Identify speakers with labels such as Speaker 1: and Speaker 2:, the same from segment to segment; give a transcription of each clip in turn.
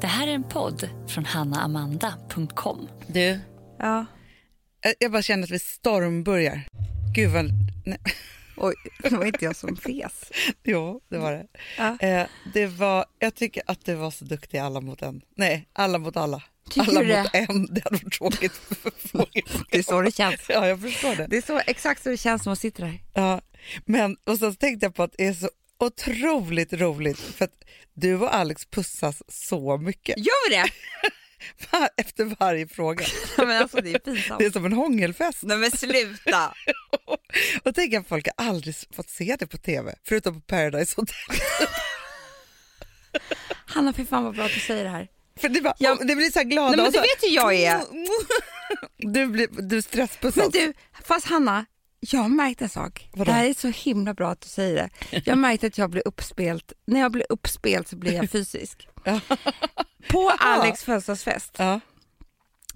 Speaker 1: Det här är en podd från hannaamanda.com.
Speaker 2: Du,
Speaker 3: Ja.
Speaker 2: jag- Eh, jag bara känner att vi stormbörjar. Gud vad... Nej.
Speaker 3: Oj, det var inte jag som fes.
Speaker 2: Jo, det var det.
Speaker 3: Ja.
Speaker 2: Eh, det var, jag tycker att det var så duktiga alla mot en. Nej, alla mot alla.
Speaker 3: Tycker
Speaker 2: alla
Speaker 3: du det?
Speaker 2: mot en, det hade varit tråkigt. för folk.
Speaker 3: Det är så det känns.
Speaker 2: Ja, jag förstår det.
Speaker 3: Det är så, exakt så det känns när man sitter här.
Speaker 2: Ja, men, och sen så tänkte jag på att det är så otroligt roligt för att du och Alex pussas så mycket
Speaker 3: Gör vi det?
Speaker 2: Va- efter varje fråga.
Speaker 3: Nej, men alltså det är pinsamt.
Speaker 2: Det är som en hångelfest.
Speaker 3: Nej men sluta.
Speaker 2: Och tänk att folk har aldrig fått se det på tv, förutom på Paradise Hotel.
Speaker 3: Hanna, fy fan vad bra att du säger det här.
Speaker 2: För det, bara,
Speaker 3: Ja.
Speaker 2: det blir så här glada.
Speaker 3: Nej men
Speaker 2: och
Speaker 3: du
Speaker 2: så,
Speaker 3: vet hur jag är.
Speaker 2: Du, blir, du stresspussas.
Speaker 3: Men du, fast Hanna, jag har märkt en sak.
Speaker 2: Vadå?
Speaker 3: Det här är så himla bra att du säger det. Jag har märkt att jag blir uppspelt. När jag blir uppspelt så blir jag fysisk. På Alex födelsedagsfest,
Speaker 2: Ja,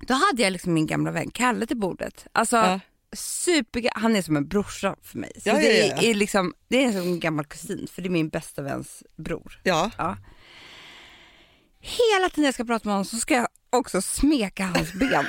Speaker 3: då hade jag liksom min gamla vän Kalle till bordet. Alltså,
Speaker 2: Ja.
Speaker 3: super, han är som en brorsa för mig. Så
Speaker 2: Ja, ja,
Speaker 3: det,
Speaker 2: ja, ja.
Speaker 3: Är liksom, det är som en gammal kusin, för det är min bästa väns bror.
Speaker 2: ja.
Speaker 3: Ja. Hela tiden jag ska prata med honom så ska jag också smeka hans ben.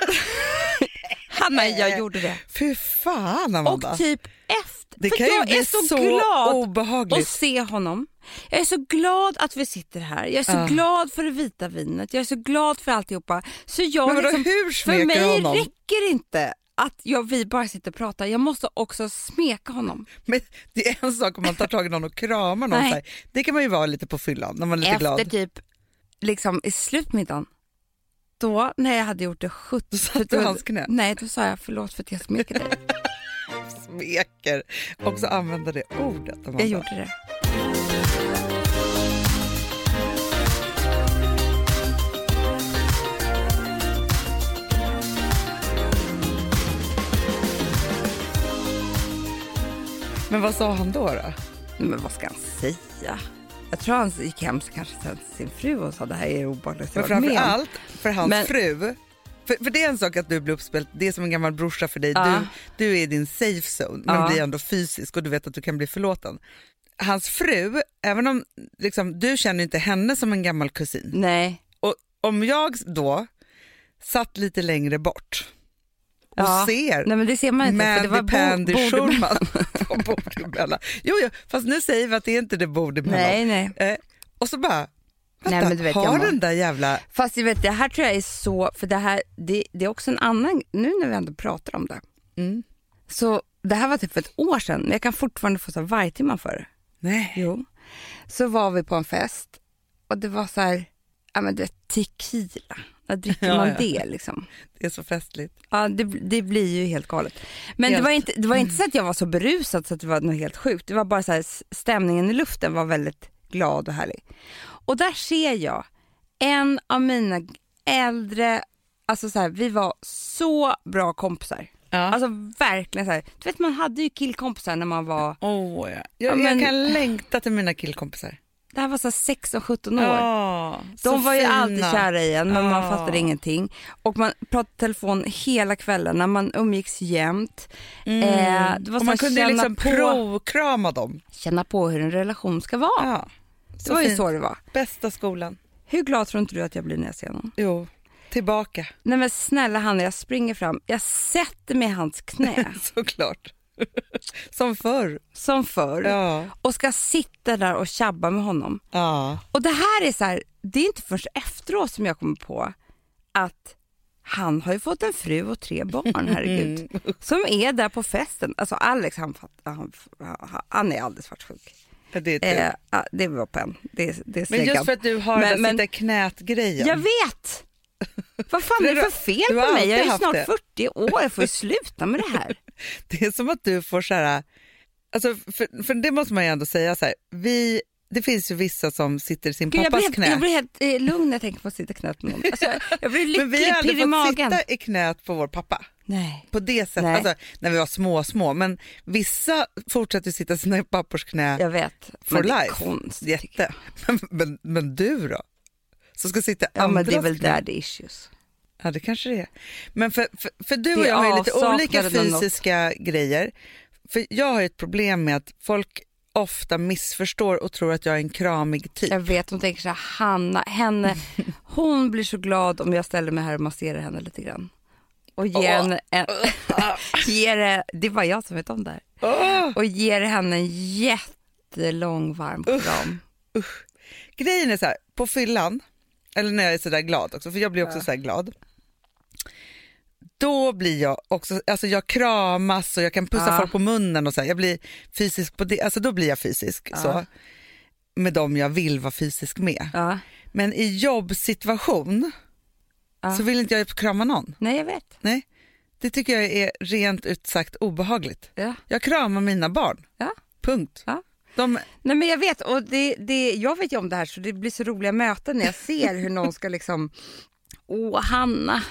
Speaker 3: Hanna, jag gjorde det.
Speaker 2: Fy fan
Speaker 3: Och
Speaker 2: Amanda.
Speaker 3: typ efter,
Speaker 2: Det
Speaker 3: för
Speaker 2: kan ju
Speaker 3: jag är
Speaker 2: bli
Speaker 3: så,
Speaker 2: så
Speaker 3: glad
Speaker 2: obehagligt.
Speaker 3: att se honom. Jag är så glad att vi sitter här. Jag är så
Speaker 2: Ja.
Speaker 3: glad för det vita vinet. Jag är så glad för alltihopa. Så jag
Speaker 2: Men vadå,
Speaker 3: liksom,
Speaker 2: hur
Speaker 3: för
Speaker 2: smeker
Speaker 3: mig
Speaker 2: du honom?
Speaker 3: räcker inte att jag, vi bara sitter och pratar. Jag måste också smeka honom.
Speaker 2: Men det är en sak om man tar tag i någon och kramar någon. Så
Speaker 3: Nej.
Speaker 2: här. Det kan man ju vara lite på fyllan när man är lite
Speaker 3: Efter
Speaker 2: glad.
Speaker 3: typ liksom i slutmiddagen. Då när jag hade gjort det 70...
Speaker 2: Då satt du i hans knä.
Speaker 3: Nej, då sa jag förlåt för att jag smekade dig.
Speaker 2: Smeker. Också använda det ordet. Amanda.
Speaker 3: Jag gjorde det.
Speaker 2: Men vad sa han då? då?
Speaker 3: Nej, Men vad ska han säga? Jag tror han gick hem så kanske sen till sin fru och sa det här är det obehagligaste
Speaker 2: Men
Speaker 3: jag varit med om."
Speaker 2: framförallt för hans
Speaker 3: Men-
Speaker 2: fru. För, för det är en sak att du blir uppspelt, det är som en gammal brorsa för dig.
Speaker 3: Ja.
Speaker 2: Du, du är i din safe zone men
Speaker 3: Ja.
Speaker 2: blir ändå fysisk och du vet att du kan bli förlåten. Hans fru, även om liksom, du känner inte henne som en gammal kusin.
Speaker 3: Nej.
Speaker 2: Och om jag då satt lite längre bort och
Speaker 3: Ja.
Speaker 2: ser
Speaker 3: Nej men det ser man inte för det var
Speaker 2: Mandy Pandy
Speaker 3: bo- bord-
Speaker 2: Schulman på bord emellan. Jo, jo, fast nu säger vi att det är inte det bord emellan.
Speaker 3: Nej nej.
Speaker 2: Eh, och så bara, vänta,
Speaker 3: Nej, men du vet, jag
Speaker 2: har
Speaker 3: mår-
Speaker 2: den där jävla...
Speaker 3: Fast jag vet, det här tror jag är så, för det här det, det är också en annan, nu när vi ändå pratar om det.
Speaker 2: Mm.
Speaker 3: Så det här var typ för ett år sedan, men jag kan fortfarande få så här vargtimmar för det.
Speaker 2: Nej.
Speaker 3: Jo. Så var vi på en fest och det var så här, ja men du vet tequila. När dricker
Speaker 2: Ja,
Speaker 3: man
Speaker 2: ja.
Speaker 3: det liksom?
Speaker 2: Det är så festligt.
Speaker 3: Ja, det, det blir ju helt galet. Men
Speaker 2: Helt.
Speaker 3: Det, var inte, det var inte så att jag var så berusad så att det var något helt sjukt. Det var bara så här, s- stämningen i luften var väldigt glad och härlig. Och där ser jag en av mina g- äldre, alltså så här, vi var så bra kompisar.
Speaker 2: Ja.
Speaker 3: Alltså verkligen så här, du vet man hade ju killkompisar när man var,
Speaker 2: Åh, ja.
Speaker 3: Ja,
Speaker 2: Jag,
Speaker 3: men-
Speaker 2: jag kan längta till mina killkompisar.
Speaker 3: det här var så här 16, 17 år.
Speaker 2: Ja, så
Speaker 3: De var ju
Speaker 2: fina.
Speaker 3: alltid kära i en men man
Speaker 2: Ja.
Speaker 3: fattade ingenting. Och man pratade telefon hela kvällarna, man umgicks jämt. Eh, det var
Speaker 2: Mm. Och
Speaker 3: så
Speaker 2: man
Speaker 3: här,
Speaker 2: kunde ju
Speaker 3: känna,
Speaker 2: liksom
Speaker 3: på,
Speaker 2: provkrama dem.
Speaker 3: känna på hur en relation ska vara.
Speaker 2: Ja.
Speaker 3: det var ju
Speaker 2: fint.
Speaker 3: så det var.
Speaker 2: Bästa skolan.
Speaker 3: Hur glad tror inte du att jag blir när jag ser honom?
Speaker 2: Jo, tillbaka
Speaker 3: Nej men snälla Hanna, jag springer fram, jag sätter mig i hans knä
Speaker 2: såklart. Som förr.
Speaker 3: som förr
Speaker 2: Ja.
Speaker 3: och ska sitta där och tjabba med honom.
Speaker 2: ja.
Speaker 3: Och det här är så här, det är inte först efteråt som jag kommer på att han har ju fått en fru och tre barn, herregud. Som är där på festen. Alltså Alex, han, fatt- han, han är alldeles svartsjuk.
Speaker 2: Det är tur.
Speaker 3: Eh, ah, det var på en. Det, det är
Speaker 2: men just
Speaker 3: släggan.
Speaker 2: för att du har
Speaker 3: Men-
Speaker 2: den där
Speaker 3: men-
Speaker 2: sitta i knät-grejen.
Speaker 3: Jag vet! Vad fan är det för fel
Speaker 2: Du har
Speaker 3: på mig? Jag är
Speaker 2: alltid
Speaker 3: ju
Speaker 2: haft
Speaker 3: snart
Speaker 2: det.
Speaker 3: 40 år, jag får ju sluta med det här.
Speaker 2: Det är som att du får så här... Alltså, för, för det måste man ju ändå säga så här. Vi, det finns ju vissa som sitter i sin
Speaker 3: Gud, jag,
Speaker 2: pappas
Speaker 3: blir helt,
Speaker 2: knä.
Speaker 3: jag blir helt eh, lugn när jag tänker på att sitta knät med någon. Alltså, jag, jag blir
Speaker 2: men vi
Speaker 3: lycklig,
Speaker 2: har aldrig
Speaker 3: pirr i
Speaker 2: fått
Speaker 3: magen.
Speaker 2: sitta i knät på vår pappa.
Speaker 3: Nej.
Speaker 2: På det sättet,
Speaker 3: Nej.
Speaker 2: alltså, när vi var små, små. Men vissa fortsätter ju sitta i sina pappors knä
Speaker 3: Jag vet,
Speaker 2: for
Speaker 3: men det är
Speaker 2: life.
Speaker 3: konstigt. tycker jag.
Speaker 2: Jätte. Men, men, men du då? Som ska sitta i
Speaker 3: Ja men det är
Speaker 2: andras
Speaker 3: väl
Speaker 2: knä.
Speaker 3: där det är issues.
Speaker 2: Ja, det kanske det är. Men för, för, för du
Speaker 3: Det
Speaker 2: och
Speaker 3: är
Speaker 2: jag har ju lite
Speaker 3: avsaknaden
Speaker 2: olika
Speaker 3: av något.
Speaker 2: fysiska grejer. För Jag har ju ett problem med att folk ofta missförstår och tror att jag är en kramig typ.
Speaker 3: Jag vet, hon tänker så här, Hanna, henne, Hon blir så glad om jag ställer mig här och masserar henne lite grann. Och ger
Speaker 2: Åh.
Speaker 3: henne, en, ger, eh, det var jag som vet om det här.
Speaker 2: Åh!
Speaker 3: Och ger henne en jättelång varm kram.
Speaker 2: Grejen är så här, på fyllan, eller när jag är så där glad också, för jag blir också så här glad. Då blir jag också, alltså jag kramas och jag kan pussa
Speaker 3: Ja.
Speaker 2: folk på munnen och så här, jag blir fysisk på det, alltså då blir jag fysisk så. Med dem jag vill vara fysisk med.
Speaker 3: Ja.
Speaker 2: Men i jobbsituation
Speaker 3: Ja.
Speaker 2: så vill inte jag krama någon.
Speaker 3: Nej, jag vet.
Speaker 2: Nej, det tycker jag är rent ut sagt obehagligt.
Speaker 3: Ja.
Speaker 2: Jag kramar mina barn,
Speaker 3: Ja.
Speaker 2: punkt.
Speaker 3: Ja.
Speaker 2: De,
Speaker 3: Nej, men jag vet, och det, det, jag vet ju om det här så det blir så roliga möten när jag ser hur någon ska liksom, åh Hanna,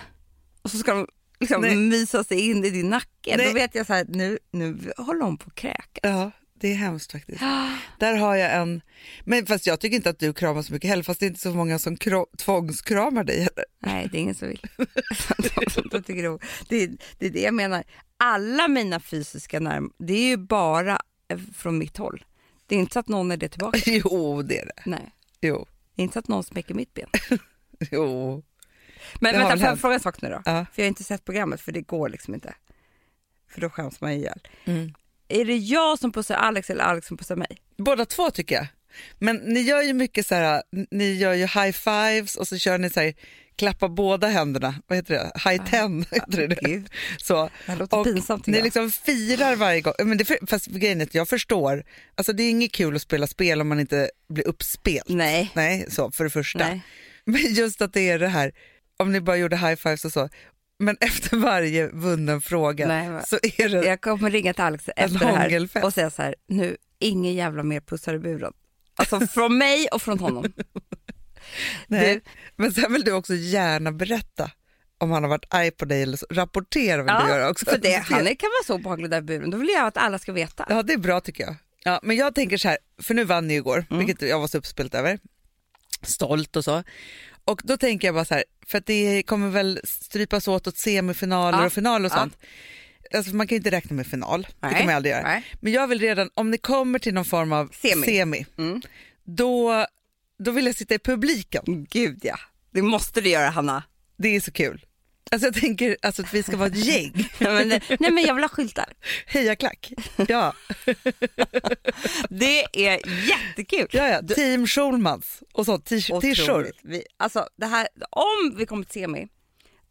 Speaker 3: och så ska de liksom
Speaker 2: Nej.
Speaker 3: mysa sig in i din nacke.
Speaker 2: Nej.
Speaker 3: Då vet jag så här, nu, nu håller hon på och kräka.
Speaker 2: ja, det är hemskt faktiskt. Där har jag en, men fast jag tycker inte att du kramar så mycket heller, fast det är inte så många som kro, tvångskramar dig heller.
Speaker 3: Nej, det är ingen som vill. De tycker det, är o- det, är- det är det jag menar. Alla mina fysiska närm, det är ju bara eh, från mitt håll. Det är inte så att någon är det tillbaka.
Speaker 2: Jo, det är det.
Speaker 3: Nej,
Speaker 2: Jo,
Speaker 3: det är inte så att någon smäcker mitt ben.
Speaker 2: jo.
Speaker 3: Men
Speaker 2: Det har
Speaker 3: vänta,
Speaker 2: väl
Speaker 3: får jag
Speaker 2: hänt.
Speaker 3: fråga en sak nu då?
Speaker 2: Ja.
Speaker 3: För jag har inte sett programmet för det går liksom inte. För då skäms man ihjäl.
Speaker 2: Mm.
Speaker 3: Är det jag som pussar Alex eller Alex som pussar mig?
Speaker 2: Båda två tycker jag. Men ni gör ju mycket så här, ni gör ju high fives och så kör ni så här, klappa båda händerna, vad heter det, high ten, heter det det?
Speaker 3: Gud,
Speaker 2: Så.
Speaker 3: det här låter
Speaker 2: Och
Speaker 3: pinsamt.
Speaker 2: Ni
Speaker 3: tycker
Speaker 2: liksom firar varje gång. Men det, för- fast grejen är att jag förstår, alltså det är inget kul att spela spel om man inte blir uppspelt.
Speaker 3: jag. Nej.
Speaker 2: Nej, så för det första.
Speaker 3: Mm. Nej.
Speaker 2: Men just att det är det här, om ni bara gjorde high fives och så, men efter varje vunnen fråga
Speaker 3: Nej, va.
Speaker 2: så är det,
Speaker 3: Jag kommer ringa till Alex efter det
Speaker 2: hångelfest.
Speaker 3: här och säga så här, nu, ingen jävla mer pussar i buren. Alltså från mig och från honom.
Speaker 2: nej.
Speaker 3: du-
Speaker 2: Men sen vill du också gärna berätta om han har varit arg på dig eller så. Rapportera vill du göra också.
Speaker 3: för det, han är, kan vara så obehaglig där i buren, då vill jag att alla ska veta.
Speaker 2: Ja, det är bra tycker jag. Ja, men jag tänker så här, för nu vann ni ju igår,
Speaker 3: Mm.
Speaker 2: vilket jag var så uppspelt över. Stolt och så. Och då tänker jag bara så här, för att det kommer väl strypas åt åt semifinaler
Speaker 3: Ja,
Speaker 2: och finaler och
Speaker 3: ja.
Speaker 2: sånt. Alltså, man kan ju inte räkna med final, det
Speaker 3: Nej,
Speaker 2: kan man aldrig göra.
Speaker 3: nej.
Speaker 2: Men jag vill redan, om ni kommer till någon form av semi,
Speaker 3: Semi. Mm.
Speaker 2: då, då vill jag sitta i publiken.
Speaker 3: Gud ja, det måste du göra Hanna.
Speaker 2: Det är så kul. Alltså jag tänker alltså, att vi ska vara ett gäng,
Speaker 3: Nej, men, nej men jag vill ha skyltar.
Speaker 2: hejaklack. Ja,
Speaker 3: Det är jättekul.
Speaker 2: ja, ja. team Schulmans och sånt, t- t-shirt.
Speaker 3: Otroligt. Vi, alltså det här, om vi kommer till semi,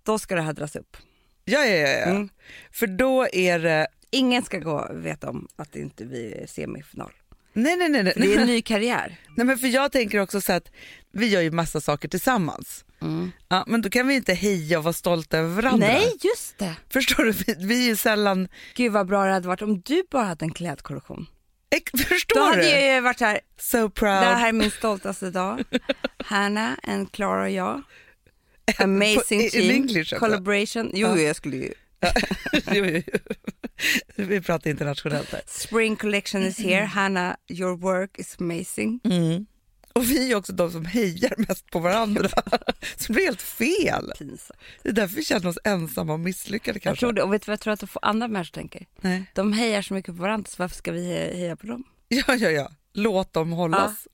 Speaker 3: då ska det här dras upp.
Speaker 2: Ja, ja, ja. ja.
Speaker 3: Mm.
Speaker 2: För då är det...
Speaker 3: Ingen ska gå och veta om att det inte vi är semifinal.
Speaker 2: Nej, nej, nej. nej.
Speaker 3: För det är en ny karriär.
Speaker 2: nej men för jag tänker också så att vi gör ju massa saker tillsammans. Ja, men då kan vi inte heja och vara stolta över varandra.
Speaker 3: Mm. Nej, just det.
Speaker 2: Förstår du? Vi, vi är ju sällan...
Speaker 3: Gud vad bra det hade varit om du bara hade en klädkollektion.
Speaker 2: Ex-
Speaker 3: Då
Speaker 2: förstår
Speaker 3: hade
Speaker 2: du?
Speaker 3: jag ju varit så här,
Speaker 2: So
Speaker 3: det
Speaker 2: proud.
Speaker 3: här är min stoltaste dag. Hanna, en Klara och jag. Amazing
Speaker 2: i- i English
Speaker 3: team,
Speaker 2: också.
Speaker 3: collaboration. Jo,
Speaker 2: Ja.
Speaker 3: jag skulle ju.
Speaker 2: Jo, jo, jo. vi pratar internationellt där.
Speaker 3: Spring collection is here. Hanna, your work is amazing.
Speaker 2: Och vi är också de som hejar mest på varandra. Så det blir helt fel.
Speaker 3: Pinsamt.
Speaker 2: Det är därför vi känner oss ensamma och misslyckade
Speaker 3: Jag
Speaker 2: kanske.
Speaker 3: tror det, och vet du vad jag tror att de andra människor tänker?
Speaker 2: Nej.
Speaker 3: De hejar så mycket på varandra, så varför ska vi he- heja på dem?
Speaker 2: Ja, ja, ja. Låt dem hållas.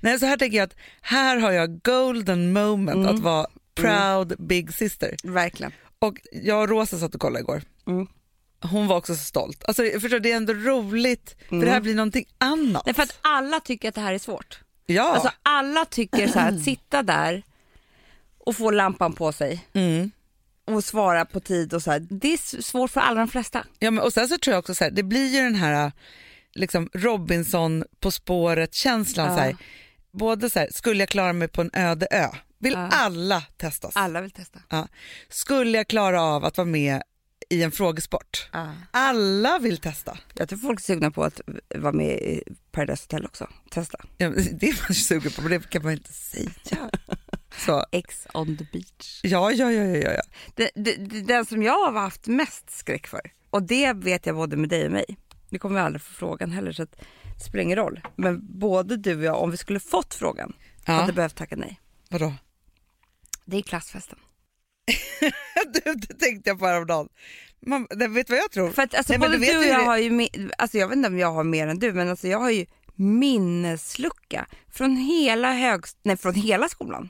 Speaker 2: Nej, så här tänker jag att här har jag golden moment att
Speaker 3: Mm.
Speaker 2: vara proud big sister.
Speaker 3: Verkligen.
Speaker 2: Och jag och Rosa satt och kollade igår.
Speaker 3: Mm.
Speaker 2: Hon var också så stolt. Alltså, förstår, du, det är ändå roligt för det här blir någonting annat.
Speaker 3: Mm. Nej, för att alla tycker att det här är svårt.
Speaker 2: Ja,
Speaker 3: Alltså alla tycker så här att sitta där och få lampan på sig
Speaker 2: mm.
Speaker 3: och svara på tid och så här. Det är s- svårt för alla de flesta.
Speaker 2: ja men, och sen så tror jag också så här, det blir ju den här äh, liksom Robinson på spåret-känslan.
Speaker 3: Ja.
Speaker 2: Så här. Både så här, skulle jag klara mig på en öde ö? Vill
Speaker 3: Ja.
Speaker 2: alla testas?
Speaker 3: Alla vill testa.
Speaker 2: Ja. Skulle jag klara av att vara med i en frågesport? Alla vill testa.
Speaker 3: Jag tror folk är sugna på att vara med i Paradise Hotel också. Testa.
Speaker 2: Ja, men Det är man ju sugen på, men det kan man inte säga. Så,
Speaker 3: Ex on the beach.
Speaker 2: ja, ja, ja, ja, ja, ja.
Speaker 3: Det, det, det, den som jag har haft mest skräck för, och det vet jag både med dig och mig. Nu kommer vi aldrig få frågan heller så att det spelar ingen roll. Men både du och jag, om vi skulle fått frågan, hade
Speaker 2: ja.
Speaker 3: behövt tacka nej.
Speaker 2: Vadå?
Speaker 3: Det är klassfesten.
Speaker 2: Du, det tänkte jag på häromdagen. Man, nej, vet du vad jag tror?
Speaker 3: För att, alltså,
Speaker 2: Nej, men
Speaker 3: både
Speaker 2: du vet
Speaker 3: du och
Speaker 2: ju
Speaker 3: jag
Speaker 2: det-
Speaker 3: har ju, mi- alltså, jag vet inte om jag har mer än du, men alltså, jag har ju minneslucka från hela högst, nej från hela skolan.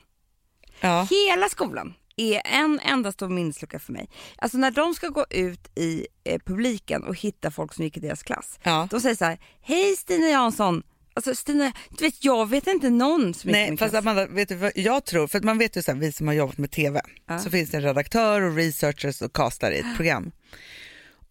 Speaker 2: Ja.
Speaker 3: Hela skolan är en enda stor minneslucka för mig. Alltså när de ska gå ut i eh, publiken och hitta folk som gick i deras klass.
Speaker 2: Ja.
Speaker 3: De säger så här, hej Stina Jansson. Alltså Stina, du vet jag vet inte någon som gick i
Speaker 2: Nej,
Speaker 3: min
Speaker 2: fast
Speaker 3: klass.
Speaker 2: Amanda, vet du vad jag tror? För att man vet ju så här, vi som har jobbat med TV, så finns det en redaktör och researchers och castar i ett program.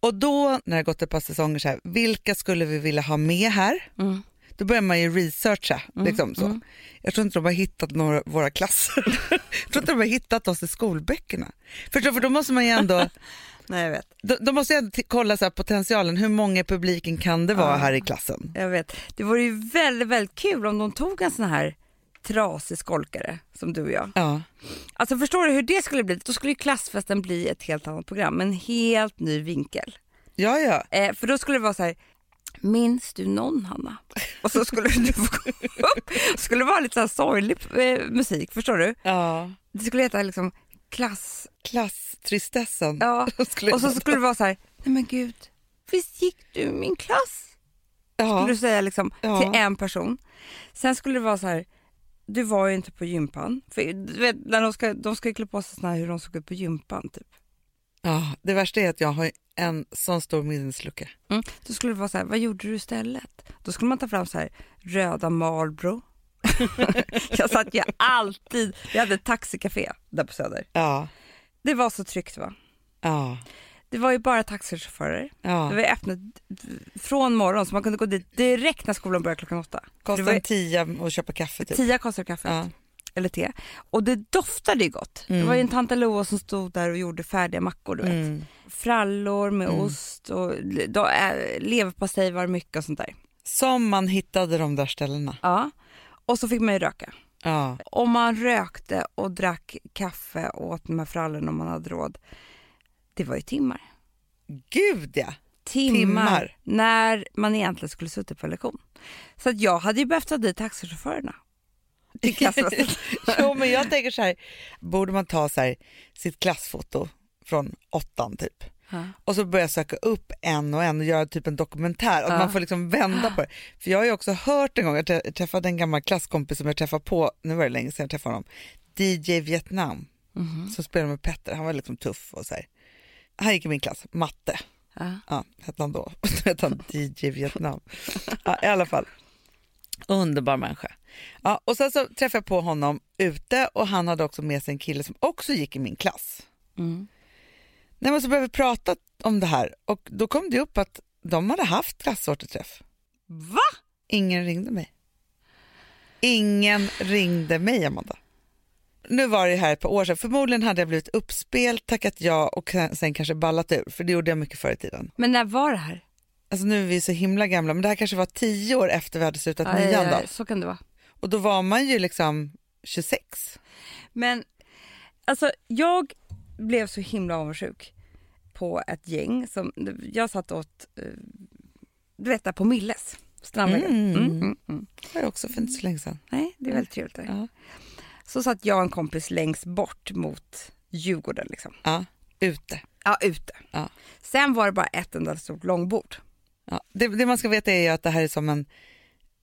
Speaker 2: Och då, när det har gått ett par säsonger, så här, vilka skulle vi vilja ha med här?
Speaker 3: Mm.
Speaker 2: Då börjar man ju researcha. Liksom, så. Jag tror inte de har hittat några, våra klasser. jag tror inte de har hittat oss i skolböckerna. Förstår, för då måste man ju ändå,
Speaker 3: Nej, jag vet.
Speaker 2: då, då måste jag t- kolla så här, potentialen, hur många i publiken kan det vara här i klassen?
Speaker 3: Jag vet. Det vore ju väldigt, väldigt kul om de tog en sån här trasig skolkare som du och jag.
Speaker 2: Ja.
Speaker 3: Alltså förstår du hur det skulle bli? Då skulle ju klassfesten bli ett helt annat program med en helt ny vinkel.
Speaker 2: Ja, ja.
Speaker 3: Eh, för då skulle det vara så här, minns du någon Hanna? Och så skulle du få gå upp. skulle vara lite så här sorglig eh, musik, förstår du?
Speaker 2: ja.
Speaker 3: Det skulle heta liksom klass...
Speaker 2: Klasstristessen.
Speaker 3: Ja.
Speaker 2: Skulle
Speaker 3: Och så
Speaker 2: jag-
Speaker 3: skulle det vara så här, nej men gud, visst gick du i min klass?
Speaker 2: ja.
Speaker 3: skulle du säga liksom,
Speaker 2: Ja.
Speaker 3: till en person. Sen skulle det vara så här, du var ju inte på gympan. För, du vet, när de, ska, de ska ju klä på sig såna här hur de såg ut på gympan. Typ.
Speaker 2: Ja, det värsta är att jag har en sån stor minneslucka.
Speaker 3: Mm. Då skulle det vara så här, vad gjorde du istället? Då skulle man ta fram så här, röda Marlboro. jag satt ju alltid, jag hade ett taxicafé där på Söder.
Speaker 2: Ja,
Speaker 3: Det var så tryggt va?
Speaker 2: ja,
Speaker 3: Det var ju bara taxichaufförer. Det
Speaker 2: ja.
Speaker 3: var ju öppnet från morgon så man kunde gå dit direkt när skolan började klockan åtta. Det var
Speaker 2: Kostar
Speaker 3: ju-
Speaker 2: en tia att köpa kaffe typ.
Speaker 3: Tia kostar kaffet.
Speaker 2: Ja.
Speaker 3: eller te. Och det doftade ju gott. Det var ju en tante Loa som stod där och gjorde färdiga mackor. Du vet.
Speaker 2: Mm.
Speaker 3: Frallor med ost och le- då, äh, leverpastej var det mycket och sånt där.
Speaker 2: Som man hittade de där ställena.
Speaker 3: Ja. Och så fick man ju röka.
Speaker 2: Ja,
Speaker 3: Och man rökte och drack kaffe och åt de här frallorna om man hade råd. Det var ju timmar.
Speaker 2: gud ja.
Speaker 3: Timmar,
Speaker 2: Timmar.
Speaker 3: när man egentligen skulle suttit på lektion. Så att jag hade ju behövt ta dit taxichaufförerna. Till klassfesten.
Speaker 2: jo, men jag tänker så här, borde man ta så här, sitt klassfoto från åttan typ
Speaker 3: Ja.
Speaker 2: och så börja söka upp en och en och göra typ en dokumentär, att
Speaker 3: Ja.
Speaker 2: man får liksom vända på det. För jag har ju också hört en gång, jag trä- träffade en gammal klasskompis som jag träffade på, nu var det länge sedan jag träffade honom, DJ Vietnam. som spelade med Petter, han var liksom tuff och så här. Han gick i min klass, matte,
Speaker 3: Ja.
Speaker 2: ja, hette han då, då hette han DJ Vietnam. Ja, I alla fall, underbar människa. Ja, och sen så träffade jag på honom ute och han hade också med sig en kille som också gick i min klass.
Speaker 3: Mm.
Speaker 2: Nej, men så började vi prata om det här och då kom det upp att de hade haft klassåterträff.
Speaker 3: Va?
Speaker 2: Ingen ringde mig. Ingen ringde mig, Amanda. Nu var det här ett par år sedan. Förmodligen hade jag blivit uppspelt, tackat ja och sen kanske ballat ur, för det gjorde jag mycket förr i tiden.
Speaker 3: Men när var det här?
Speaker 2: Alltså nu är vi så himla gamla, men det här kanske var tio år efter vi hade slutat
Speaker 3: Aj, aj,
Speaker 2: nian då.
Speaker 3: aj, så kan det vara.
Speaker 2: Och då var man ju liksom 26.
Speaker 3: Men alltså jag blev så himla avundsjuk på ett gäng som jag satt åt, eh, du vet där på Milles, Strandvägen.
Speaker 2: Mm.
Speaker 3: Mm, mm, mm.
Speaker 2: Det var ju också för inte så länge sedan.
Speaker 3: Nej, det är väldigt trevligt där.
Speaker 2: Ja.
Speaker 3: Så satt jag och en kompis längst bort mot Djurgården liksom.
Speaker 2: Ja, ute.
Speaker 3: Ja, ute.
Speaker 2: Ja.
Speaker 3: Sen var det bara ett enda stort långbord.
Speaker 2: Ja. Det, det man ska veta är ju att det här är som en,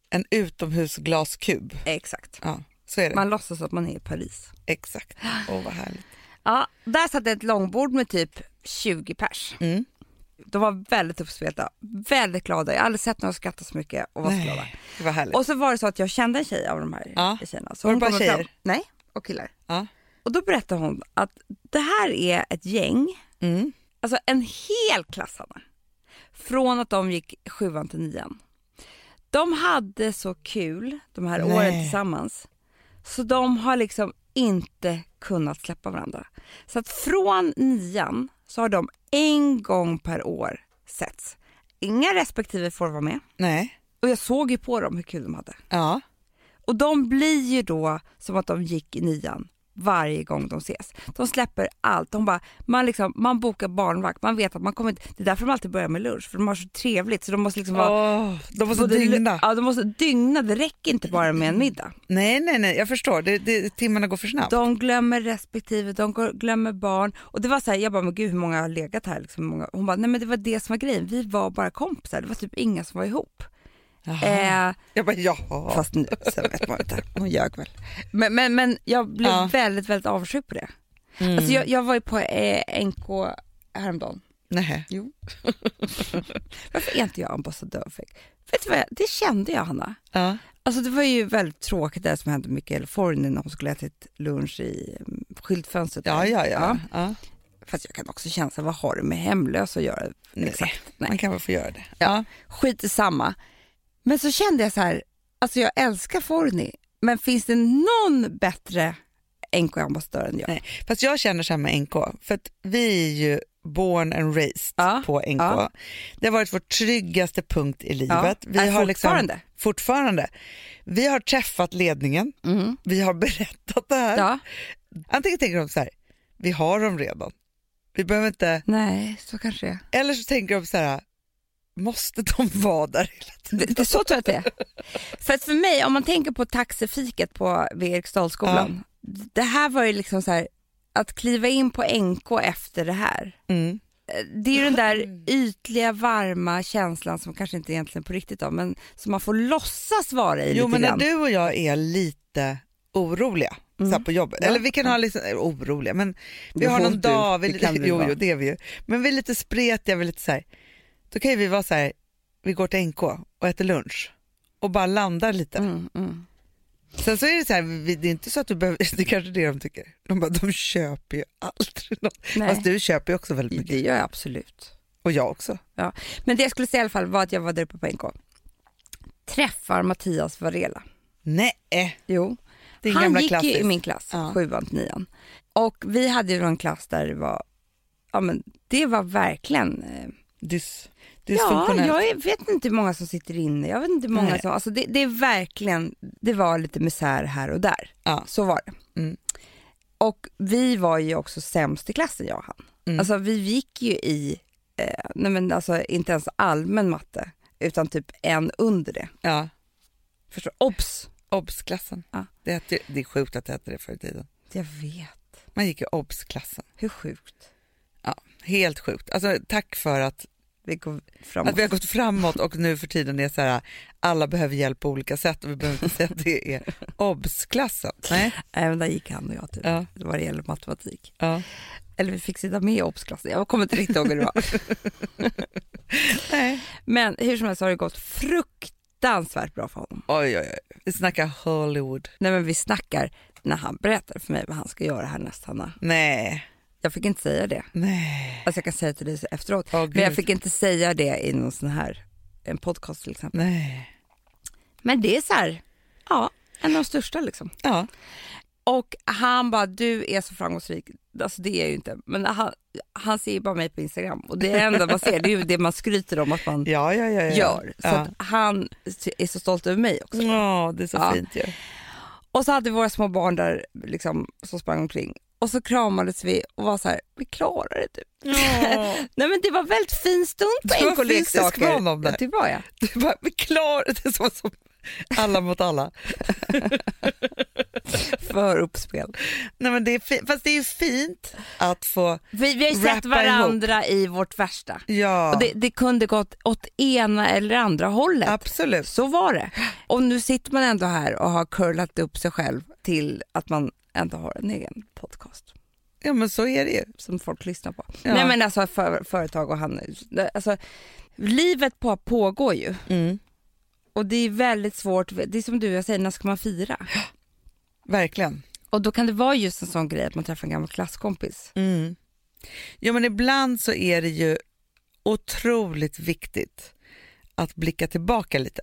Speaker 2: en utomhusglaskub.
Speaker 3: Exakt.
Speaker 2: Ja, så är det.
Speaker 3: Man låtsas att man är i Paris.
Speaker 2: Exakt. Åh, vad härligt.
Speaker 3: Ja, där satt ett långbord med typ 20 pers.
Speaker 2: Mm.
Speaker 3: De var väldigt uppspelta, väldigt glada. Jag har aldrig sett någon skratta så mycket och var så glada.
Speaker 2: Nej, det var härligt.
Speaker 3: Och så var det så att jag kände en tjej av de här
Speaker 2: Ja.
Speaker 3: tjejerna. Så
Speaker 2: Var det
Speaker 3: hon
Speaker 2: bara
Speaker 3: kommer fram-
Speaker 2: tjejer?
Speaker 3: Nej, och killar.
Speaker 2: Ja.
Speaker 3: Och då berättade hon att det här är ett gäng,
Speaker 2: Mm.
Speaker 3: alltså en hel klass Hanna. Från att de gick sjuan till nian. De hade så kul de här
Speaker 2: Nej.
Speaker 3: åren tillsammans. Så de har liksom inte kunnat släppa varandra. Så att från nian så har de en gång per år setts. Inga respektive får vara med.
Speaker 2: Nej.
Speaker 3: Och jag såg ju på dem hur kul de hade.
Speaker 2: Ja.
Speaker 3: Och de blir ju då som att de gick i nian varje gång de ses. De släpper allt. De bara, man, liksom, man bokar barnvakt, man vet att man kommer inte... Det är därför de alltid börjar med lunch, för de har så trevligt. Så de måste liksom vara...
Speaker 2: Åh, de måste
Speaker 3: både-
Speaker 2: dygna.
Speaker 3: Ja, de måste dygna. Det räcker inte bara med en middag.
Speaker 2: Nej, nej, nej, jag förstår. Det, det, timmarna går för snabbt.
Speaker 3: De glömmer respektive, de går- glömmer barn. Och det var så här, jag bara, men gud hur många har legat här? Liksom, hur många? Hon bara, nej men det var det som var grejen. Vi var bara kompisar. Det var typ inga som var ihop. Eh,
Speaker 2: Jag bara jaha.
Speaker 3: fast nu, sen vet man inte, hon ljög väl. Men, men, men jag blev
Speaker 2: Ja.
Speaker 3: väldigt, väldigt avundsjuk på det.
Speaker 2: Mm.
Speaker 3: Alltså jag, jag var ju på eh, NK häromdagen.
Speaker 2: Nej.
Speaker 3: Varför är inte jag ambassadör för Vet du vad, jag, det kände jag Hanna.
Speaker 2: Ja.
Speaker 3: Alltså det var ju väldigt tråkigt det som hände med Californien när hon skulle ätit lunch i mm, skyltfönstret.
Speaker 2: Ja,
Speaker 3: där.
Speaker 2: ja, ja. ja.
Speaker 3: Fast jag kan också känna, så här, vad har det med hemlösa att göra?
Speaker 2: Nej.
Speaker 3: Exakt,
Speaker 2: Man
Speaker 3: nej.
Speaker 2: kan väl få göra det.
Speaker 3: Ja, skit i samma. Men så kände jag så här, alltså jag älskar Forni, men finns det någon bättre NK-ambassadör än jag?
Speaker 2: Nej. Fast jag känner så här med NK, för att vi är ju born and raised
Speaker 3: Ja,
Speaker 2: på NK.
Speaker 3: ja.
Speaker 2: Det har varit vår tryggaste punkt i livet.
Speaker 3: vi har fortfarande.
Speaker 2: Liksom, fortfarande. Vi har träffat ledningen,
Speaker 3: Mm.
Speaker 2: vi har berättat det här.
Speaker 3: Ja.
Speaker 2: Antingen tänker de så här, vi har dem redan. Vi behöver inte...
Speaker 3: Nej, så kanske det är.
Speaker 2: Eller så tänker de så här, måste de vara där hela tiden?
Speaker 3: Det, det, så tror jag att det är. För att för mig, om man tänker på taxifiket på, vid Eriksdalsskolan. Det här var ju liksom så här, att kliva in på NK efter det här.
Speaker 2: Mm.
Speaker 3: Eh, Det är ju den där ytliga varma känslan som kanske inte egentligen på riktigt då, men som man får låtsas vara i
Speaker 2: Jo,
Speaker 3: lite
Speaker 2: men när
Speaker 3: grann.
Speaker 2: du och jag är lite oroliga så här på jobbet,
Speaker 3: Mm. Ja.
Speaker 2: eller vi kan ha liksom, eller oroliga, men vi
Speaker 3: Det
Speaker 2: har
Speaker 3: får
Speaker 2: någon
Speaker 3: du.
Speaker 2: dag, vi,
Speaker 3: Det kan du
Speaker 2: jo,
Speaker 3: vara.
Speaker 2: jo, det är vi ju, men vi är lite spretiga, vi är lite så här, då kan ju vi vara så här, vi går till NK och äter lunch och bara landar lite.
Speaker 3: Mm, mm.
Speaker 2: Sen så är det så här, vi, det är inte så att du behöver, det är kanske det de tycker, de bara, de köper ju aldrig något.
Speaker 3: Nej, Mm.
Speaker 2: Fast du köper ju också väldigt mycket,
Speaker 3: det gör jag absolut.
Speaker 2: och jag också.
Speaker 3: Ja. Men det jag skulle säga i alla fall var att jag var där uppe på NK. Träffar Mattias Varela.
Speaker 2: Nej,
Speaker 3: Jo.
Speaker 2: Din
Speaker 3: han
Speaker 2: gamla
Speaker 3: gick ju
Speaker 2: klassis.
Speaker 3: i min klass,
Speaker 2: Ja.
Speaker 3: sjuan till nian. Och vi hade ju en klass där det var, ja men det var verkligen, eh,
Speaker 2: dys,
Speaker 3: ja
Speaker 2: dysfunktionellt.
Speaker 3: jag är- vet inte hur många som sitter inne, jag vet inte hur många
Speaker 2: Nej.
Speaker 3: som, alltså det, det är verkligen, det var lite misär här och där.
Speaker 2: Ja.
Speaker 3: Så var det.
Speaker 2: Mm.
Speaker 3: Och vi var ju också sämst i klassen jag och han.
Speaker 2: Mm.
Speaker 3: Alltså vi gick ju i, eh, nej men alltså inte ens allmän matte, utan typ en under det.
Speaker 2: ja.
Speaker 3: Förstår Obs!
Speaker 2: Obs-klassen.
Speaker 3: Ja.
Speaker 2: Det, hette ju- det är sjukt att det hette det förr i tiden.
Speaker 3: Jag vet,
Speaker 2: Man gick ju obs-klassen.
Speaker 3: hur sjukt.
Speaker 2: Helt sjukt. Alltså, tack för att,
Speaker 3: Vi går framåt.
Speaker 2: att vi har gått framåt och nu för tiden är så här, alla behöver hjälp på olika sätt och vi behöver inte säga att det är obs-klassen. Nej.
Speaker 3: Även där gick han och jag typ,
Speaker 2: Ja.
Speaker 3: vad det gäller matematik.
Speaker 2: Ja.
Speaker 3: Eller vi fick sitta med i obsklassen, jag kommer inte riktigt ihåg hur det var.
Speaker 2: Nej.
Speaker 3: Men hur som helst har det gått fruktansvärt bra för honom.
Speaker 2: Oj, oj, oj. Vi snackar Hollywood.
Speaker 3: Nej men vi snackar när han berättar för mig vad han ska göra härnäst Hanna.
Speaker 2: Nej,
Speaker 3: Jag fick inte säga det.
Speaker 2: nej.
Speaker 3: Alltså jag kan säga till dig så efteråt.
Speaker 2: Åh,
Speaker 3: men jag
Speaker 2: Gud.
Speaker 3: fick inte säga det i någon sån här, en podcast till exempel.
Speaker 2: nej.
Speaker 3: Men det är så här, ja, en av de största liksom.
Speaker 2: Ja.
Speaker 3: Och han bara, du är så framgångsrik. Alltså det är jag ju inte, men han, han ser ju bara mig på Instagram och det enda man ser det är ju det man skryter om att man
Speaker 2: Ja, ja, ja, ja.
Speaker 3: gör. Så
Speaker 2: Eh, ja.
Speaker 3: att han är så stolt över mig också.
Speaker 2: Åh, det är så
Speaker 3: Ja.
Speaker 2: fint ju.
Speaker 3: Och så hade vi våra små barn där liksom, som sprang omkring och så kramades vi och var så här, vi klarar det typ.
Speaker 2: Åh.
Speaker 3: Nej men det var väldigt fin stund
Speaker 2: Du var
Speaker 3: på NK
Speaker 2: fysisk
Speaker 3: Leksaker.
Speaker 2: van om det.
Speaker 3: Ja, det var jag.
Speaker 2: Du bara, vi klarar det. är Som, som alla mot alla.
Speaker 3: För uppspel.
Speaker 2: Nej, men det är fi- fast det är ju fint att få...
Speaker 3: Vi, vi har ju sett
Speaker 2: Rappa
Speaker 3: varandra i vårt värsta.
Speaker 2: Ja,
Speaker 3: Och det, det kunde gått åt ena eller andra hållet.
Speaker 2: absolut.
Speaker 3: Så var det. Och nu sitter man ändå här och har curlat upp sig själv till att man ändå har en egen podcast
Speaker 2: Ja, men så är det ju.
Speaker 3: som folk lyssnar på.
Speaker 2: Ja.
Speaker 3: Nej men alltså för, företag och handel. Alltså, livet på, pågår ju och det är väldigt svårt. Det är som du och jag säger, när ska man fira?
Speaker 2: Verkligen.
Speaker 3: Och då kan det vara just en sån grej att man träffar en gammal klasskompis.
Speaker 2: Mm. Ja, men ibland så är det ju otroligt viktigt att blicka tillbaka lite.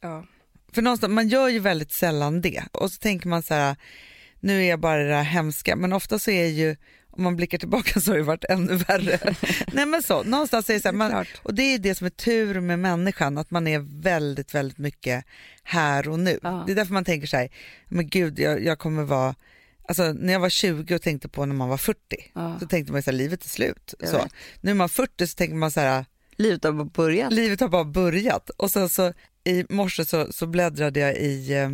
Speaker 3: Ja.
Speaker 2: För någonstans, man gör ju väldigt sällan det. Och så tänker man så här, nu är jag bara det här hemska. Men ofta så är ju, om man blickar tillbaka så har det varit ännu värre. Nej men så, någonstans är det så här,
Speaker 3: Det är
Speaker 2: man,
Speaker 3: klart.
Speaker 2: och det är det som är tur med människan, att man är väldigt, väldigt mycket här och nu.
Speaker 3: Ja.
Speaker 2: Det är därför man tänker så här, men gud jag, jag kommer vara, alltså när jag var 20 och tänkte på när man var 40,
Speaker 3: Ja.
Speaker 2: så tänkte man ju så här, livet är slut.
Speaker 3: Jag
Speaker 2: Så.
Speaker 3: vet.
Speaker 2: Nu är man 40 så tänker man så här,
Speaker 3: Livet har bara börjat.
Speaker 2: Livet har bara börjat. Och sen så i morse så, så bläddrade jag i eh,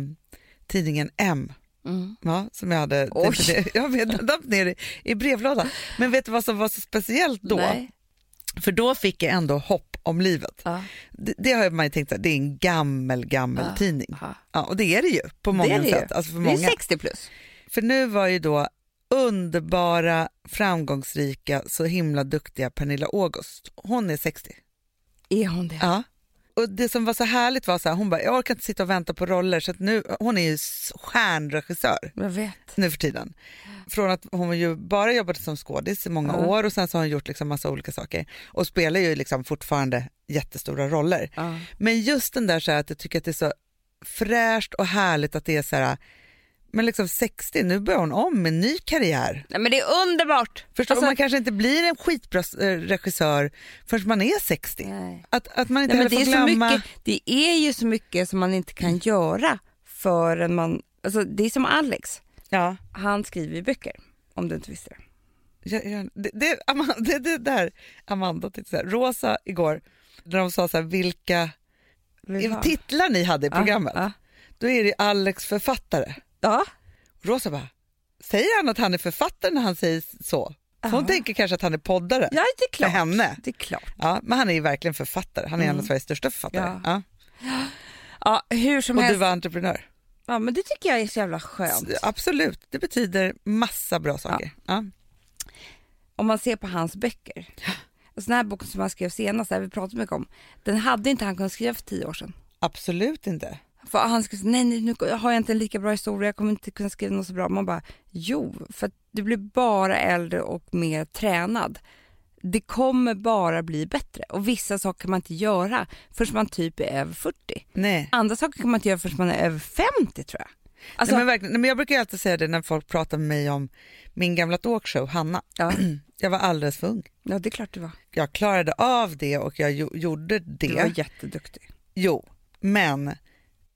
Speaker 2: tidningen M.
Speaker 3: Mm.
Speaker 2: Ja, som jag hade
Speaker 3: Oj.
Speaker 2: jag vet, damp ner i, i brevlådan. Men vet du vad som var så speciellt då?
Speaker 3: Nej.
Speaker 2: För då fick jag ändå hopp om livet.
Speaker 3: Ja.
Speaker 2: Det, det har man ju tänkt, så här, det är en gammel, gammel
Speaker 3: Ja.
Speaker 2: tidning.
Speaker 3: Aha.
Speaker 2: Ja, och det är det ju på
Speaker 3: Det
Speaker 2: många
Speaker 3: är det ju.
Speaker 2: sätt. Alltså för,
Speaker 3: Det är
Speaker 2: många.
Speaker 3: 60 plus.
Speaker 2: för nu var ju då underbara, framgångsrika, så himla duktiga Pernilla August. Hon är 60.
Speaker 3: Är hon det?
Speaker 2: Ja. Och det som var så härligt var så här, hon bara, jag orkar inte sitta och vänta på roller så att nu, hon är ju stjärnregissör
Speaker 3: Jag vet.
Speaker 2: nu för tiden. Från att hon ju bara jobbade som skådis i många
Speaker 3: Ja.
Speaker 2: år och sen så har hon gjort liksom massa olika saker och spelar ju liksom fortfarande jättestora roller.
Speaker 3: Ja.
Speaker 2: Men just den där så här att jag tycker att det är så fräscht och härligt att det är så här, men liksom 60, nu börjar hon om med en ny karriär.
Speaker 3: Nej, men det är underbart.
Speaker 2: Förstår,
Speaker 3: Alltså-
Speaker 2: man kanske inte blir en skitbra eh, regissör förrän man är 60.
Speaker 3: Nej.
Speaker 2: Att, att man inte
Speaker 3: Nej, men
Speaker 2: heller
Speaker 3: det, är
Speaker 2: får
Speaker 3: så
Speaker 2: glömma...
Speaker 3: mycket, det är ju så mycket som man inte kan göra förrän man... Alltså, det är som Alex,
Speaker 2: Ja.
Speaker 3: han skriver ju böcker. Om du inte visste det.
Speaker 2: Jag, jag, det, det, Amanda, det, det där Amanda tyckte så här, Rosa igår, när de sa så här, vilka
Speaker 3: Vill du ha?
Speaker 2: titlar ni hade i programmet,
Speaker 3: Ja,
Speaker 2: då är det ju Alex författare.
Speaker 3: ja.
Speaker 2: Rosa bara, säger han att han är författare när han säger så? För Hon
Speaker 3: Ja.
Speaker 2: tänker kanske att han är poddare
Speaker 3: ja, det är
Speaker 2: för
Speaker 3: klart.
Speaker 2: henne.
Speaker 3: Det är klart.
Speaker 2: Ja, men han är ju verkligen författare, han är
Speaker 3: Mm.
Speaker 2: en av Sveriges största författare. Ja.
Speaker 3: Ja, hur som
Speaker 2: Och du
Speaker 3: helst.
Speaker 2: var entreprenör.
Speaker 3: Ja, men det tycker jag är så jävla skönt.
Speaker 2: Absolut, det betyder massa bra saker. Ja.
Speaker 3: Om man ser på hans böcker. Alltså den här boken som han skrev senast, där vi pratade mycket om, den hade inte han kunnat skriva för tio år sedan.
Speaker 2: Absolut inte.
Speaker 3: För han skulle säga, nej, nej nu har jag inte en lika bra historia, jag kommer inte kunna skriva något så bra. Man bara, jo, för att du blir bara äldre och mer tränad. Det kommer bara bli bättre och vissa saker kan man inte göra förrän man typ är över 40.
Speaker 2: Nej.
Speaker 3: Andra saker kan man inte göra förrän man är över 50 tror jag. Alltså,
Speaker 2: nej, men verkligen, nej, men jag brukar ju alltid säga det när folk pratar med mig om min gamla talkshow, Hanna.
Speaker 3: ja,
Speaker 2: Jag var alldeles för ung.
Speaker 3: ja, det är klart du var.
Speaker 2: Jag klarade av det och jag gjo- gjorde
Speaker 3: Du var
Speaker 2: det.
Speaker 3: jätteduktig.
Speaker 2: Jo, men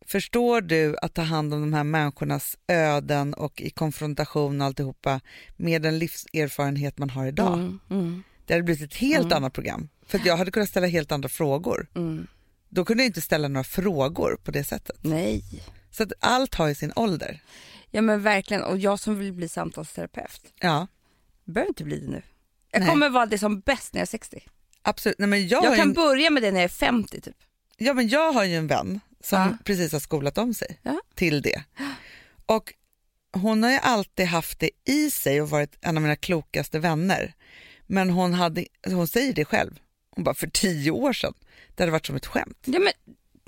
Speaker 2: förstår du att ta hand om de här människornas öden och i konfrontation och alltihopa med den livserfarenhet man har idag?
Speaker 3: Mm, mm,
Speaker 2: Det hade blivit ett helt annat program. För att jag hade kunnat ställa helt andra frågor.
Speaker 3: mm.
Speaker 2: Då kunde jag inte ställa några frågor på det sättet.
Speaker 3: Nej.
Speaker 2: Så att allt har ju sin ålder.
Speaker 3: Ja men verkligen, och jag som vill bli samtalsterapeut,
Speaker 2: Ja,
Speaker 3: behöver inte bli det nu. Jag
Speaker 2: Nej.
Speaker 3: kommer vara det som bäst när jag är 60.
Speaker 2: absolut. Nej, men jag, har
Speaker 3: Jag
Speaker 2: ju
Speaker 3: kan
Speaker 2: en,
Speaker 3: börja med det när jag är 50 typ.
Speaker 2: ja, men jag har ju en vän som
Speaker 3: Ja.
Speaker 2: precis har skolat om sig
Speaker 3: Ja.
Speaker 2: till det. Och hon har ju alltid haft det i sig och varit en av mina klokaste vänner. Men hon, hade, hon säger det själv. Hon bara, för tio år sedan, det hade varit som ett skämt.
Speaker 3: Ja, men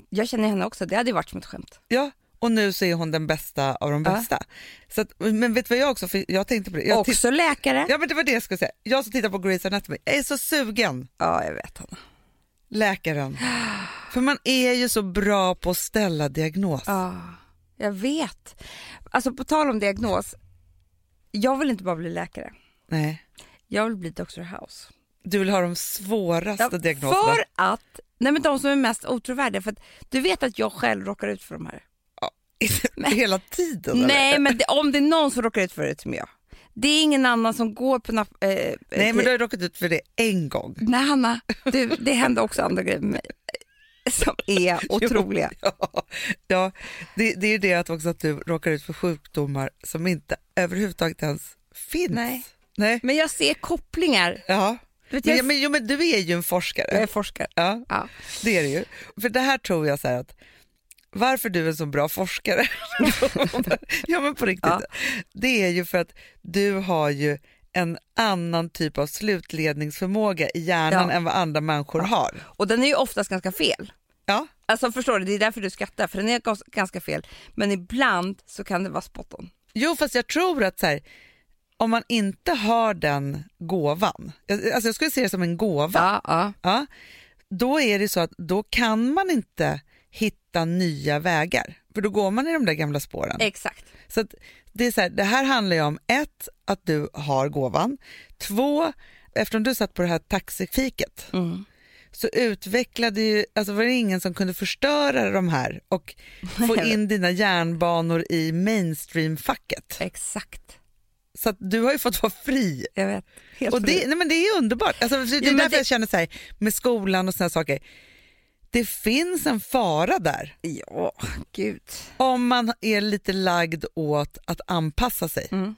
Speaker 3: jag känner henne också, det hade ju varit som ett skämt.
Speaker 2: Ja, och nu så är hon den bästa av de
Speaker 3: Ja.
Speaker 2: bästa. Så att, men vet du vad jag också, för jag tänkte på det. Jag
Speaker 3: också läkare.
Speaker 2: Ja men det var det jag skulle säga. Jag som tittar på Grey's Anatomy, jag är så sugen,
Speaker 3: Ja, jag vet Hanna.
Speaker 2: läkaren. För man är ju så bra på att ställa diagnos.
Speaker 3: Ja, jag vet. Alltså på tal om diagnos, jag vill inte bara bli läkare.
Speaker 2: Nej.
Speaker 3: Jag vill bli Dr. House.
Speaker 2: Du vill ha de svåraste
Speaker 3: Ja,
Speaker 2: diagnoserna.
Speaker 3: för att, nej men de som är mest otrovärdiga, för att du vet att jag själv råkar ut för de här.
Speaker 2: Hela tiden
Speaker 3: Nej,
Speaker 2: eller?
Speaker 3: men det, om det är någon som råkar ut för det som jag. Det är ingen annan som går på... nap- Eh,
Speaker 2: Nej men
Speaker 3: till-
Speaker 2: du har ju råkat ut för det en gång.
Speaker 3: Nej Hanna, du, det hände också andra grejer med mig eh, som är otroliga.
Speaker 2: Ja, ja det, det är ju det att också att du råkar ut för sjukdomar som inte överhuvudtaget ens finns.
Speaker 3: Nej.
Speaker 2: Nej.
Speaker 3: Men jag ser kopplingar.
Speaker 2: Ja.
Speaker 3: Vet
Speaker 2: Men,
Speaker 3: jag, Mm.
Speaker 2: ja, men, jo, men du är ju en forskare.
Speaker 3: jag är eh, forskare.
Speaker 2: Ja,
Speaker 3: Ja.
Speaker 2: det är det ju. För det här tror jag så här att varför du är en så bra forskare, ja men på riktigt,
Speaker 3: Ja.
Speaker 2: det är ju för att du har ju en annan typ av slutledningsförmåga i hjärnan
Speaker 3: Ja.
Speaker 2: än vad andra människor har.
Speaker 3: Och den är ju oftast ganska fel.
Speaker 2: Ja,
Speaker 3: Alltså förstår du, det är därför du skrattar för den är gans- ganska fel. Men ibland så kan det vara spot on.
Speaker 2: Jo, fast jag tror att så här, om man inte har den gåvan, jag- alltså jag skulle se det som en gåva,
Speaker 3: Ja, ja.
Speaker 2: ja, då är det så att då kan man inte hitta nya vägar, för då går man i de där gamla spåren.
Speaker 3: Exakt.
Speaker 2: Så att det, är så här, det här handlar ju om ett, att du har gåvan. Två, eftersom du satt på det här taxifiket
Speaker 3: Mm.
Speaker 2: så utvecklade ju, alltså var det ingen som kunde förstöra de här och få in dina järnbanor i mainstream-facket.
Speaker 3: Exakt.
Speaker 2: Så att du har ju fått vara fri.
Speaker 3: Jag vet. Helt
Speaker 2: Och det,
Speaker 3: fel.
Speaker 2: nej men det är underbart. Alltså, det är
Speaker 3: men
Speaker 2: därför
Speaker 3: det-
Speaker 2: jag känner så här med skolan och såna här saker. Det finns en fara där
Speaker 3: Ja, gud.
Speaker 2: om man är lite lagd åt att anpassa sig.
Speaker 3: Mm.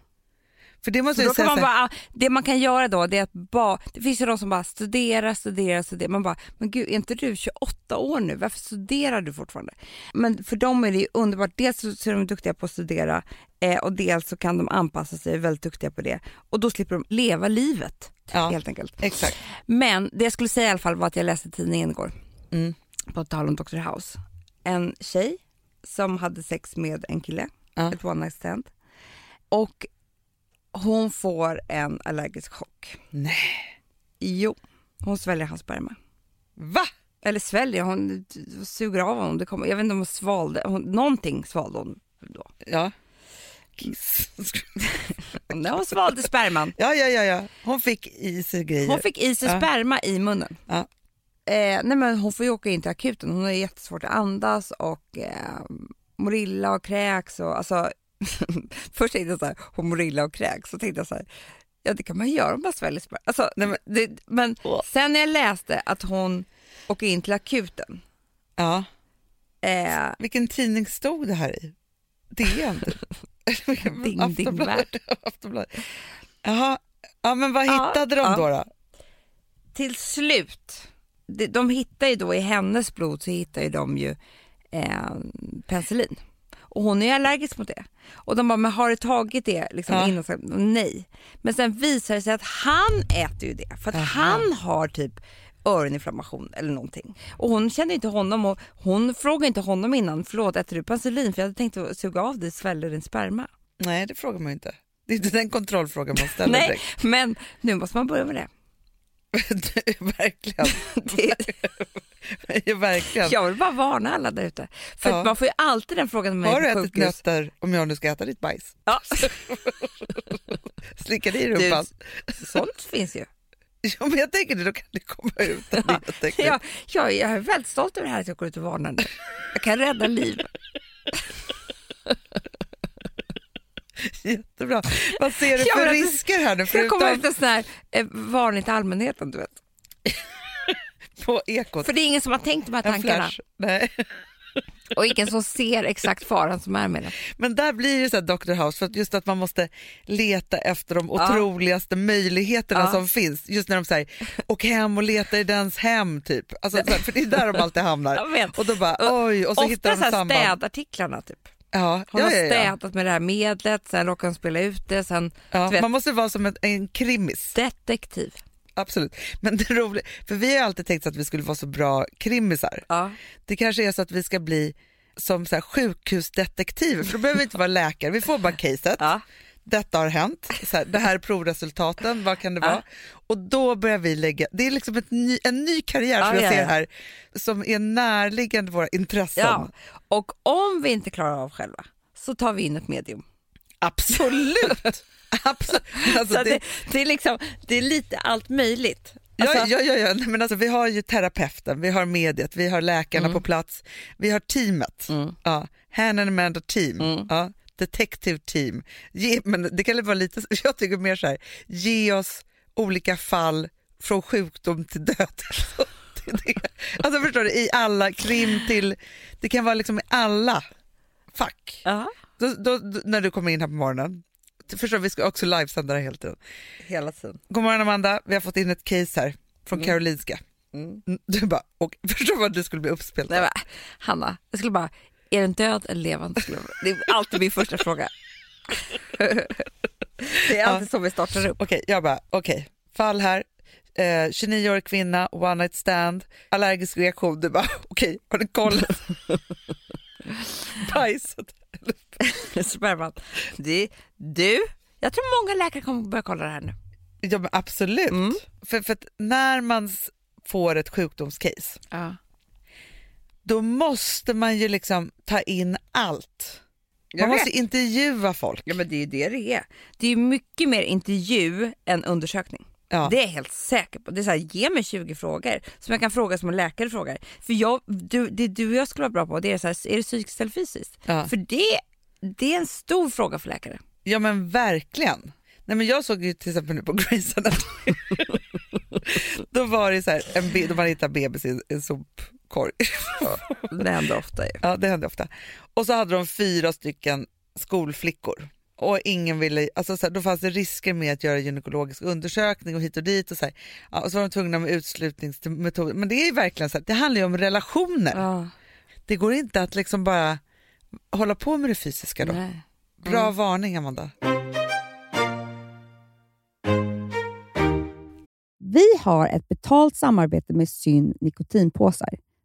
Speaker 2: För det måste
Speaker 3: Så då
Speaker 2: jag
Speaker 3: kan
Speaker 2: säga
Speaker 3: man
Speaker 2: så här,
Speaker 3: bara, ah, det man kan göra då det är att bara, det finns ju de som bara studerar, studerar, studerar. Man bara, men gud är inte du 28 år nu? Varför studerar du fortfarande? Men för dem är det ju underbart. Dels så så är de duktiga på att studera eh, och dels så kan de anpassa sig, är väldigt duktiga på det. Och då slipper de leva livet
Speaker 2: ja,
Speaker 3: helt enkelt.
Speaker 2: exakt.
Speaker 3: Men det jag skulle säga i alla fall var att jag läste tidningen igår,
Speaker 2: Mm.
Speaker 3: på tal om Dr. House. En tjej som hade sex med en kille,
Speaker 2: Ja.
Speaker 3: ett one night stand. Och hon får en allergisk chock.
Speaker 2: Nej.
Speaker 3: Jo, hon sväljer hans sperma.
Speaker 2: Va?
Speaker 3: Eller sväljer, hon suger av honom. Det kommer, jag vet inte om hon svalde, hon, någonting svalde hon då.
Speaker 2: Ja. Kiss.
Speaker 3: Nej, hon svalde sperman.
Speaker 2: Ja, ja, ja, ja. Hon fick i sig grejer.
Speaker 3: Hon fick i sig
Speaker 2: Ja.
Speaker 3: sperma i munnen.
Speaker 2: Ja.
Speaker 3: Eh, nej men hon får ju åka in till akuten, hon har ju jättesvårt att andas och eh, morilla och kräks och alltså först tänkte jag så här, hon morilla och kräks, så tänkte jag så här, ja det kan man göra om man sväljer sperma. Alltså, nej, men, det, men
Speaker 2: Åh.
Speaker 3: sen när jag läste att hon åker in till akuten,
Speaker 2: Ja.
Speaker 3: eh,
Speaker 2: Vilken tidning stod det här i? DN? typ. Vilken-
Speaker 3: Ding,
Speaker 2: Aftonbladet.
Speaker 3: ding, värld.
Speaker 2: Aftonbladet. Jaha. Ja, men vad
Speaker 3: Ja,
Speaker 2: hittade de
Speaker 3: ja.
Speaker 2: då? då?
Speaker 3: till slut, de, de hittar ju då i hennes blod så hittar ju de ju eh, penicillin. Och hon är ju allergisk mot det. Och de bara, men har du tagit det liksom
Speaker 2: Ja.
Speaker 3: innan? Så, Nej. Men sen visar det sig att han äter ju det. För att han har typ öroninflammation eller någonting. Och hon känner inte honom och hon frågar inte honom innan, förlåt äter du penicillin? För jag hade tänkt att suga av dig, sväljer din sperma.
Speaker 2: Nej, det frågar man ju inte. Det är inte den kontrollfrågan man ställer
Speaker 3: Nej,
Speaker 2: direkt.
Speaker 3: men nu måste man börja med det.
Speaker 2: Det är Verkligen.
Speaker 3: det
Speaker 2: Det är Verkligen.
Speaker 3: Jag vill bara varna alla där ute. För
Speaker 2: Ja.
Speaker 3: att man får ju alltid den frågan med
Speaker 2: Har du
Speaker 3: mig på
Speaker 2: ätit
Speaker 3: sjukhus.
Speaker 2: nötter om jag nu ska äta ditt bajs?
Speaker 3: Ja.
Speaker 2: Slickar i
Speaker 3: Du,
Speaker 2: rumpan?
Speaker 3: sånt finns ju.
Speaker 2: Ja, men jag tänker det, då kan det komma ut. en liten teckning.
Speaker 3: Jag, jag, jag är väldigt stolt över det här att jag går ut och varnar nu. Jag kan rädda liv.
Speaker 2: Jättebra. Vad ser du
Speaker 3: Ja,
Speaker 2: för
Speaker 3: men att-
Speaker 2: risker här nu,
Speaker 3: Jag kommer ut
Speaker 2: förutom
Speaker 3: en sån här eh, varning till allmänheten, du vet.
Speaker 2: på ekot?
Speaker 3: För det är ingen som har tänkt de här
Speaker 2: En
Speaker 3: tankarna
Speaker 2: flash. Nej.
Speaker 3: och ingen som ser exakt faran som är med det.
Speaker 2: Men där blir det så här Dr. House, för att just att man måste leta efter de
Speaker 3: Ja.
Speaker 2: otroligaste möjligheterna
Speaker 3: Ja.
Speaker 2: som finns. Just när de säger åk hem och leta i dens hem typ. Alltså, så här, för det är där de alltid hamnar.
Speaker 3: Jag vet.
Speaker 2: Och då bara oj, och så hittar de
Speaker 3: Ofta så här
Speaker 2: samband.
Speaker 3: städartiklarna typ.
Speaker 2: Ja,
Speaker 3: Hon
Speaker 2: ja,
Speaker 3: har
Speaker 2: ja, ja.
Speaker 3: städat med det här medlet, sen råkar hon spela ut det, sen
Speaker 2: Ja,
Speaker 3: du vet,
Speaker 2: man måste vara som en, en krimis,
Speaker 3: detektiv.
Speaker 2: absolut. Men det roliga, för vi har ju alltid tänkt att vi skulle vara så bra krimisar.
Speaker 3: Ja.
Speaker 2: Det kanske är så att vi ska bli som så här sjukhusdetektiver, för då behöver vi inte vara läkare. Vi får bara caset.
Speaker 3: Ja.
Speaker 2: detta har hänt, så här, det här är provresultaten, vad kan det
Speaker 3: Ja.
Speaker 2: vara? Och då börjar vi lägga, det är liksom ett ny, en ny karriär
Speaker 3: Ja,
Speaker 2: som jag
Speaker 3: ja,
Speaker 2: ser
Speaker 3: ja.
Speaker 2: här, som är närliggande våra intressen.
Speaker 3: Ja, och om vi inte klarar av själva så tar vi in ett medium.
Speaker 2: Absolut! Absolut. Alltså,
Speaker 3: Så att
Speaker 2: det,
Speaker 3: det, det, är liksom, det är lite allt möjligt. Alltså,
Speaker 2: ja, ja, ja, ja. Nej, men alltså, vi har ju terapeuten, vi har mediet, vi har läkarna på plats, vi har teamet. Ja. Han and Amanda team. Ja. Detective team. Ge, men det kan vara lite, jag tycker mer så här, ge oss olika fall från sjukdom till död. Det- det- alltså förstår du, i alla, krim till, det kan vara liksom i alla fack.
Speaker 3: ja,
Speaker 2: Då, då, då, när du kommer in här på morgonen, förstår du, vi ska också livesända det här hela tiden.
Speaker 3: hela tiden.
Speaker 2: God morgon Amanda, vi har fått in ett case här från Karolinska.
Speaker 3: Mm.
Speaker 2: Mm, Du bara, och, förstår vad du skulle bli uppspelt
Speaker 3: Nej,
Speaker 2: av.
Speaker 3: men, Hanna, jag skulle bara, är den död eller levande? Skulle jag- Det är alltid min första fråga. Det är alltid så vi startar upp.
Speaker 2: Okej, jag bara, okej, fall här. Eh, 29-årig kvinna, one night stand, allergisk reaktion. Du bara, okej, har du kollat? Bajset.
Speaker 3: Sperman. Det, du, jag tror många läkare kommer börja kolla det här nu.
Speaker 2: Ja men absolut.
Speaker 3: Mm.
Speaker 2: För, för att när man s- får ett sjukdomscase,
Speaker 3: Ja.
Speaker 2: då måste man ju liksom ta in allt. Man
Speaker 3: Jag
Speaker 2: måste
Speaker 3: vet.
Speaker 2: intervjua folk.
Speaker 3: ja, men det är ju det det är. Det är ju mycket mer intervju än undersökning.
Speaker 2: Ja.
Speaker 3: Det är jag helt säker på. Det är så här, ge mig 20 frågor som jag kan fråga som en läkare frågar. För jag, du, det du och jag skulle vara bra på det är så här, är det psykiskt eller fysiskt?
Speaker 2: Ja.
Speaker 3: För det, det är en stor fråga för läkare.
Speaker 2: Ja men verkligen. Nej, men jag såg ju till exempel nu på Grey's Anatomy. Då var det så här, en be- de hade hittat bebis i en- en sopkorg.
Speaker 3: Det händer ofta ju.
Speaker 2: Ja, det hände ofta. Och så hade de fyra stycken skolflickor.
Speaker 4: och ingen ville, alltså så här, då fanns det risker med att göra gynekologisk undersökning och hit och dit och så, här. Ja, och så var de tvungna med utslutningsmetoder. Men det är ju verkligen så här, det handlar ju om relationer.
Speaker 3: Ja.
Speaker 4: Det går inte att liksom bara hålla på med det fysiska då.
Speaker 3: Nej.
Speaker 4: Bra varning Amanda.
Speaker 5: Vi har ett betalt samarbete med Syn nikotinpåsar.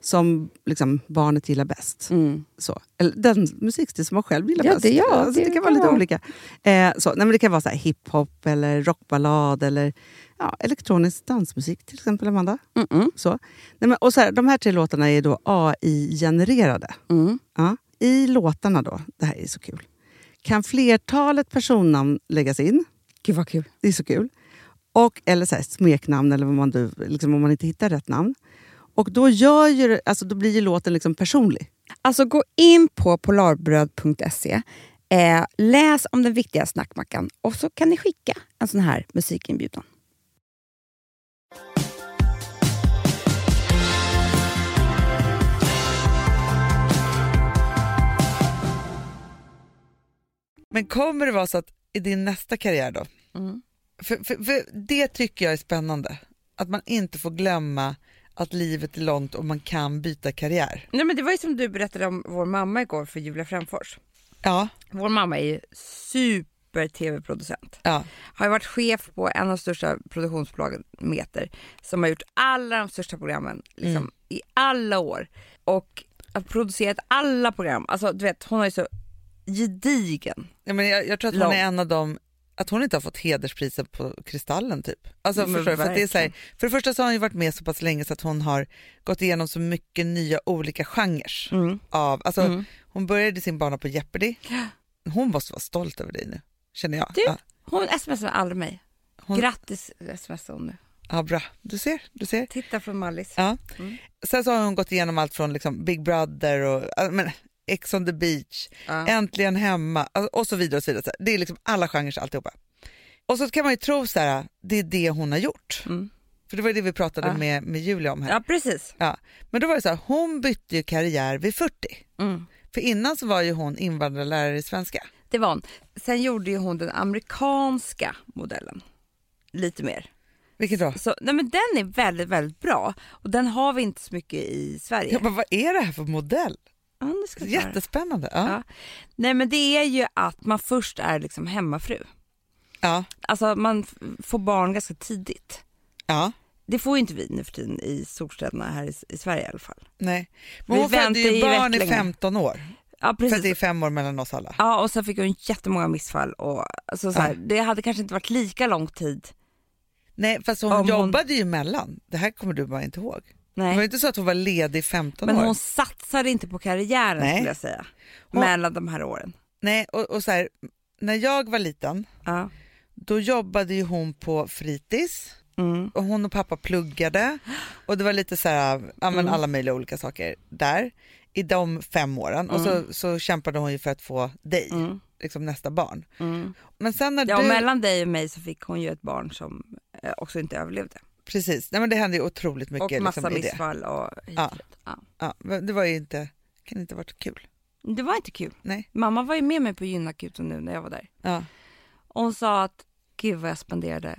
Speaker 2: som liksom, barnet gillar bäst. Så. Eller den musikstil som man själv gillar
Speaker 3: Mm. Ja,
Speaker 2: bäst.
Speaker 3: det- ja,
Speaker 2: alltså, det,
Speaker 3: det
Speaker 2: kan vara lite
Speaker 3: kan vara.
Speaker 2: olika. Eh, så. Nej, men det kan vara så här hiphop, eller rockballad eller ja, elektronisk dansmusik till exempel, Amanda. Så. Nej, men, och så här, de här tre låtarna är då AI-genererade.
Speaker 3: Mm.
Speaker 2: Ja. I låtarna då, det här är så kul, kan flertalet personnamn läggas in.
Speaker 3: Gud vad kul.
Speaker 2: Det är så kul. Och, eller så här, smeknamn, eller vad man, du- liksom, om man inte hittar rätt namn. Och då, gör ju, det- alltså, då blir ju låten liksom personlig.
Speaker 3: Alltså gå in på polarbröd.se, eh, läs om den viktiga snackmackan och så kan ni skicka en sån här musikinbjudan.
Speaker 2: Men kommer det vara så att i din nästa karriär då,
Speaker 3: Mm.
Speaker 2: för, för, för det tycker jag är spännande, att man inte får glömma att livet är långt och man kan byta karriär.
Speaker 3: Nej, men det var ju som du berättade om vår mamma igår för Julia Frändfors.
Speaker 2: Ja,
Speaker 3: Vår mamma är ju super-tv-producent.
Speaker 2: ja,
Speaker 3: Har ju varit chef på en av de största produktionsbolagen Meter som har gjort alla de största programmen liksom,
Speaker 2: Mm.
Speaker 3: i alla år och har producerat alla program. Alltså du vet, hon har ju så gedigen.
Speaker 2: ja men jag, jag tror att hon
Speaker 3: Lång.
Speaker 2: är en av dem, att hon inte har fått hederspriset på Kristallen typ. Alltså,
Speaker 3: Men
Speaker 2: förstår du? För, att det är så här,
Speaker 3: Mm, verkligen.
Speaker 2: för det första så har hon ju varit med så pass länge så att hon har gått igenom så mycket nya olika genrer.
Speaker 3: Mm.
Speaker 2: Av, alltså, Hon började sin bana på Jeopardy. Hon måste vara stolt över dig nu, känner jag.
Speaker 3: Du,
Speaker 2: Ja,
Speaker 3: hon smsar aldrig mig.
Speaker 2: Hon-
Speaker 3: Grattis smsar hon nu.
Speaker 2: ja, bra. Du ser, du ser.
Speaker 3: Titta från Mallis.
Speaker 2: Ja.
Speaker 3: Mm.
Speaker 2: Sen så har hon gått igenom allt från liksom Big Brother och ja, men, Ex on the beach,
Speaker 3: Ja.
Speaker 2: Äntligen hemma alltså, och så vidare. och så vidare. Det är liksom alla genrer alltihopa. Och så kan man ju tro så här, det är det hon har gjort.
Speaker 3: Mm.
Speaker 2: För det var ju det vi pratade
Speaker 3: Ja.
Speaker 2: med, med Julia om här.
Speaker 3: Ja, precis.
Speaker 2: Ja. Men då var det så här, hon bytte ju karriär vid 40.
Speaker 3: Mm.
Speaker 2: För innan så var ju hon invandrarlärare i svenska.
Speaker 3: Det var hon. Sen gjorde ju hon den amerikanska modellen lite mer.
Speaker 2: Vilket då?
Speaker 3: Så, nej men den är väldigt, väldigt bra och den har vi inte så mycket i Sverige.
Speaker 2: Jag bara, vad är det här för modell?
Speaker 3: Ja, nu ska jag ta det.
Speaker 2: Jättespännande. Ja.
Speaker 3: Ja. Nej men det är ju att man först är liksom hemmafru.
Speaker 2: Ja.
Speaker 3: Alltså man f- får barn ganska tidigt.
Speaker 2: ja.
Speaker 3: Det får ju inte vi nu för tiden i storstäderna här i, S- i Sverige i alla fall.
Speaker 2: Nej. Men
Speaker 3: Vi
Speaker 2: hon födde
Speaker 3: väntar
Speaker 2: ju
Speaker 3: i
Speaker 2: barn i
Speaker 3: Vettlinge.
Speaker 2: 15 år.
Speaker 3: Ja
Speaker 2: För att det
Speaker 3: precis.
Speaker 2: är fem år mellan oss alla.
Speaker 3: Ja och sen fick hon jättemånga missfall och alltså, så här, det hade kanske inte varit lika lång tid.
Speaker 2: Nej, fast hon
Speaker 3: Om hon-
Speaker 2: jobbade ju mellan. Det här kommer du bara inte ihåg. Det var ju
Speaker 3: Nej.
Speaker 2: inte så att hon var ledig i 15
Speaker 3: Men
Speaker 2: år.
Speaker 3: hon satsade inte på karriären
Speaker 2: Nej.
Speaker 3: skulle jag säga.
Speaker 2: Hon-
Speaker 3: Mellan de här åren.
Speaker 2: Nej, och, och så här, när jag var liten,
Speaker 3: Ja.
Speaker 2: då jobbade ju hon på fritids.
Speaker 3: Mm.
Speaker 2: Och hon och pappa pluggade. Och det var lite så här, ja, men
Speaker 3: Mm.
Speaker 2: alla möjliga olika saker där. I de fem åren. Och så, så kämpade hon ju för att få dig,
Speaker 3: Mm.
Speaker 2: liksom nästa barn.
Speaker 3: Mm.
Speaker 2: Men sen när
Speaker 3: Ja,
Speaker 2: du...
Speaker 3: och mellan dig och mig så fick hon ju ett barn som eh, också inte överlevde.
Speaker 2: Precis, nej, men det hände ju otroligt mycket.
Speaker 3: och massa
Speaker 2: liksom, i det.
Speaker 3: missfall och hit
Speaker 2: Ja.
Speaker 3: och dit. ja.
Speaker 2: Ja, men det var ju inte, kan inte ha varit kul.
Speaker 3: Det var inte kul.
Speaker 2: Nej.
Speaker 3: Mamma var ju med mig på gynakuten nu när jag var där.
Speaker 2: Ja.
Speaker 3: Och hon sa att gud vad jag spenderade.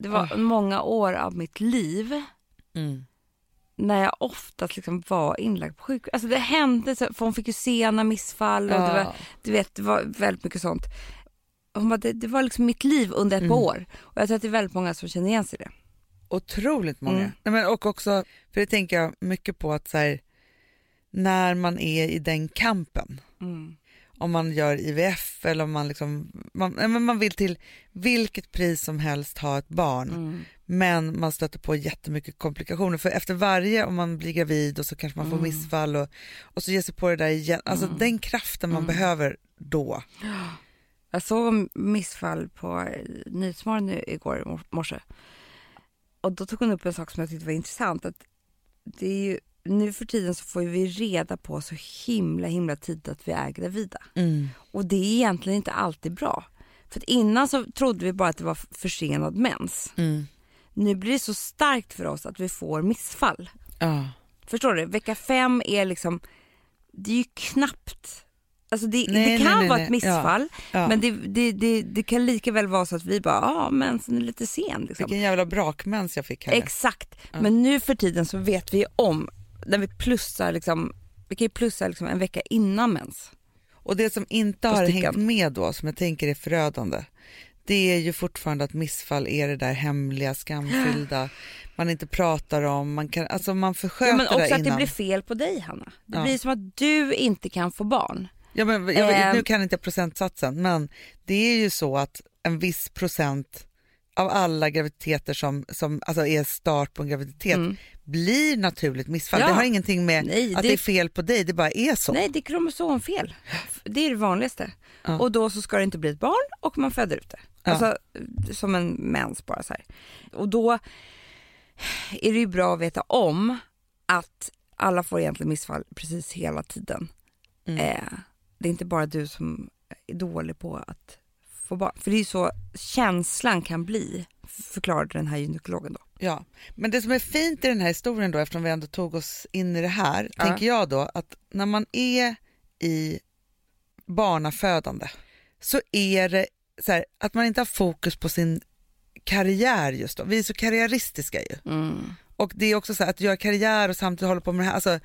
Speaker 3: Det var
Speaker 2: Ah.
Speaker 3: många år av mitt liv när jag oftast liksom var inlagd på sjukhus. Alltså det hände, så, för hon fick ju sena missfall och det var,
Speaker 2: Ja.
Speaker 3: du vet, det var väldigt mycket sånt. Hon bara, det, det var liksom mitt liv under ett
Speaker 2: Mm.
Speaker 3: par år. Och jag tror att det är väldigt många som känner igen sig i det.
Speaker 2: Otroligt många.
Speaker 3: Mm.
Speaker 2: Nej, men, och också, för det tänker jag mycket på att så här, när man är i den kampen,
Speaker 3: Mm.
Speaker 2: om man gör IVF eller om man liksom, man, nej, men man vill till vilket pris som helst ha ett barn,
Speaker 3: Mm.
Speaker 2: men man stöter på jättemycket komplikationer. För efter varje, om man blir gravid och så kanske man får
Speaker 3: Mm.
Speaker 2: missfall och, och så ger sig på det där igen. Alltså
Speaker 3: Mm.
Speaker 2: den kraften man
Speaker 3: Mm.
Speaker 2: behöver då.
Speaker 3: Jag såg missfall på eh, Nyhetsmorgon nu igår i mor- morse. Och då tog hon upp en sak som jag tyckte var intressant. Att det är ju, nu för tiden så får ju vi reda på så himla himla tidigt att vi är gravida. Och det är egentligen inte alltid bra. För att innan så trodde vi bara att det var f- försenad mens.
Speaker 2: Mm.
Speaker 3: Nu blir det så starkt för oss att vi får missfall.
Speaker 2: Ja.
Speaker 3: Förstår du? Vecka fem är liksom, det är ju knappt, alltså det,
Speaker 2: Nej,
Speaker 3: det kan
Speaker 2: nej, nej,
Speaker 3: vara
Speaker 2: nej.
Speaker 3: ett missfall
Speaker 2: Ja.
Speaker 3: men det, det, det, det kan lika väl vara så att vi bara, ja ah, mensen är lite sen. Liksom.
Speaker 2: Vilken jävla brakmens jag fick här. nu.
Speaker 3: Exakt, men nu för tiden så vet vi ju om, när vi plussar liksom, vi kan ju plussa liksom en vecka innan mens.
Speaker 2: Och det som inte
Speaker 3: Och
Speaker 2: har
Speaker 3: stickan.
Speaker 2: hängt med då, som jag tänker är förödande, det är ju fortfarande att missfall är det där hemliga, skamfyllda, man inte pratar om, man, kan, alltså man försköter
Speaker 3: Ja, men
Speaker 2: det
Speaker 3: också
Speaker 2: innan.
Speaker 3: att det blir fel på dig Hanna. Det
Speaker 2: Ja.
Speaker 3: blir som att du inte kan få barn.
Speaker 2: ja, men, jag, vet-
Speaker 3: Ehm.
Speaker 2: Nu kan inte jag procentsatsen, men det är ju så att en viss procent av alla graviditeter som, som alltså är start på en graviditet
Speaker 3: Mm.
Speaker 2: blir naturligt missfall.
Speaker 3: Ja.
Speaker 2: Det har ingenting med
Speaker 3: Nej,
Speaker 2: att det...
Speaker 3: det-
Speaker 2: är fel på dig, det bara är så.
Speaker 3: Nej, det är kromosomfel. Det är det vanligaste.
Speaker 2: Ja.
Speaker 3: Och då så ska det inte bli ett barn och man föder ut det.
Speaker 2: Ja.
Speaker 3: Alltså som en mens bara så här. Och då är det ju bra att veta om att alla får egentligen missfall precis hela tiden.
Speaker 2: Mm.
Speaker 3: Eh, det är inte bara du som är dålig på att få barn. För det är ju så känslan kan bli, förklarade den här gynekologen då.
Speaker 2: Ja, men det som är fint i den här historien då, eftersom vi ändå tog oss in i det här,
Speaker 3: Ja.
Speaker 2: tänker jag då att när man är i barnafödande så är det så här, att man inte har fokus på sin karriär just då. Vi är så karriäristiska ju.
Speaker 3: Mm.
Speaker 2: Och det är också så här att göra karriär och samtidigt hålla på med det här. Alltså,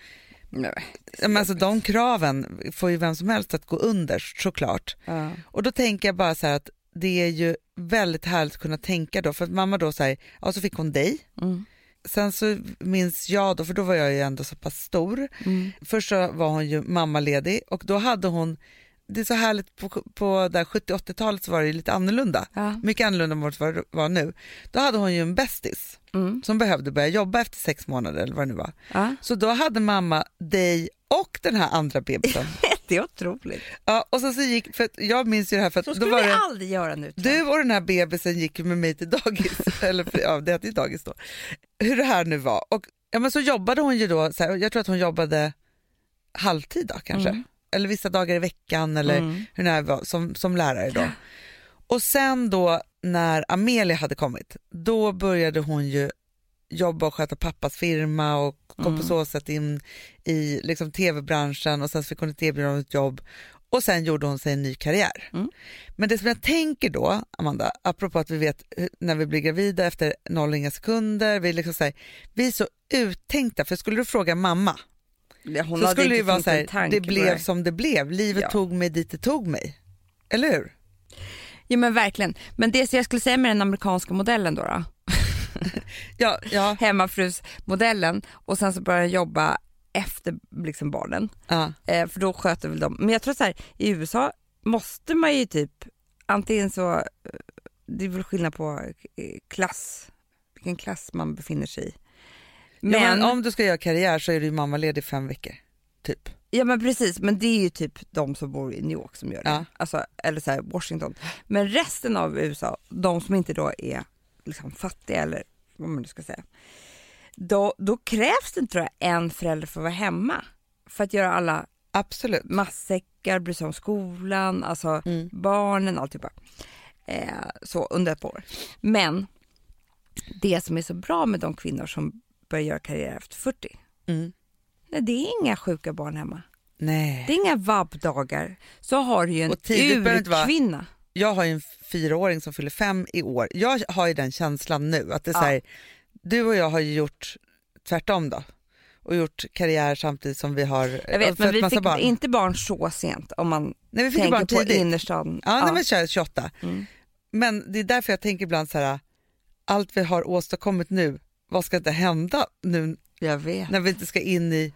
Speaker 3: Nej.
Speaker 2: men alltså de kraven får ju vem som helst att gå under såklart.
Speaker 3: Ja.
Speaker 2: Och då tänker jag bara så här att det är ju väldigt härligt att kunna tänka då. För att mamma då så här, ja så fick hon dig.
Speaker 3: Mm.
Speaker 2: Sen så minns jag då, för då var jag ju ändå så pass stor.
Speaker 3: Mm.
Speaker 2: Först så var hon ju mammaledig och då hade hon, det är så härligt på, på där 70-80-talet så var det ju lite annorlunda.
Speaker 3: Ja.
Speaker 2: Mycket annorlunda mot vad det var nu. Då hade hon ju en bästis
Speaker 3: Mm.
Speaker 2: som behövde börja jobba efter sex månader eller vad det nu var.
Speaker 3: Ja.
Speaker 2: Så då hade mamma dig och den här andra bebisen.
Speaker 3: Det är otroligt.
Speaker 2: ja, och sen så gick, för att jag minns ju det här för
Speaker 3: Så
Speaker 2: att då
Speaker 3: skulle
Speaker 2: var
Speaker 3: vi
Speaker 2: det,
Speaker 3: aldrig göra nu. tror jag.
Speaker 2: du och den här bebisen gick ju med mig till dagis, eller för- ja det hette ju dagis då, hur det här nu var. Och ja, men så jobbade hon ju då, så här, och jag tror att hon jobbade halvtid då kanske, eller vissa dagar i veckan eller
Speaker 3: Mm.
Speaker 2: hur det här var som, som lärare då. Och sen då när Amelia hade kommit, då började hon ju jobba och sköta pappas firma och kom
Speaker 3: Mm.
Speaker 2: på så sätt in i liksom, tv-branschen och sen så fick hon ett erbjudande om ett jobb och sen gjorde hon sig en ny karriär.
Speaker 3: Mm.
Speaker 2: Men det som jag tänker då, Amanda, apropå att vi vet hur- när vi blir gravida efter noll och inga sekunder, vi, är liksom så här, vi är så uttänkta, för skulle du fråga mamma
Speaker 3: Ja, Hon
Speaker 2: så
Speaker 3: hade
Speaker 2: skulle det ju
Speaker 3: inte
Speaker 2: vara
Speaker 3: tänkt
Speaker 2: så
Speaker 3: en
Speaker 2: här,
Speaker 3: tanke
Speaker 2: det
Speaker 3: på
Speaker 2: blev
Speaker 3: här.
Speaker 2: som det blev, livet
Speaker 3: Ja.
Speaker 2: tog mig dit det tog mig. Eller hur?
Speaker 3: Ja men verkligen. Men det som jag skulle säga med den amerikanska modellen då, då
Speaker 2: Ja, ja,
Speaker 3: hemmafrusmodellen och sen så börjar jag jobba efter liksom barnen.
Speaker 2: ja.
Speaker 3: Eh, för då sköter väl de. Men jag tror så här, i USA måste man ju typ antingen så, eh, det är väl skillnad på eh, klass, vilken klass man befinner sig i. Men,
Speaker 2: ja, men om du ska göra karriär så är du ju mammaledig i fem veckor, typ.
Speaker 3: precis, men det är ju typ de som bor i New York som gör det.
Speaker 2: Ja.
Speaker 3: Alltså, eller så här Washington. Men resten av USA, de som inte då är liksom fattiga eller vad man nu ska säga. Då, då krävs det tror jag en förälder för att vara hemma. För att göra alla
Speaker 2: Absolut.
Speaker 3: matsäckar, bry sig om skolan, alltså
Speaker 2: Mm.
Speaker 3: barnen, alltihopa. Eh, så under ett par år. Men det som är så bra med de kvinnor som börjar göra karriär efter 40,
Speaker 2: Mm.
Speaker 3: nej, det är inga sjuka barn hemma.
Speaker 2: Nej.
Speaker 3: Det är inga vabbdagar. Så har du ju en
Speaker 2: Och tidigt behöver det inte vara-
Speaker 3: urkvinna.
Speaker 2: Jag har ju en fyraåring som fyller fem i år. Jag har ju den känslan nu att det är så
Speaker 3: Ja.
Speaker 2: här, du och jag har ju gjort tvärtom då och gjort karriär samtidigt som vi har
Speaker 3: Jag vet, men vi fick inte barn så sent om man
Speaker 2: Nej, vi fick ju
Speaker 3: tänker
Speaker 2: barn
Speaker 3: på
Speaker 2: tidigt.
Speaker 3: innerstan.
Speaker 2: Ja, Nej, men kör 28.
Speaker 3: Mm.
Speaker 2: Men det är därför jag tänker ibland så här, allt vi har åstadkommit nu, vad ska inte hända nu
Speaker 3: Jag vet.
Speaker 2: när vi inte ska in i,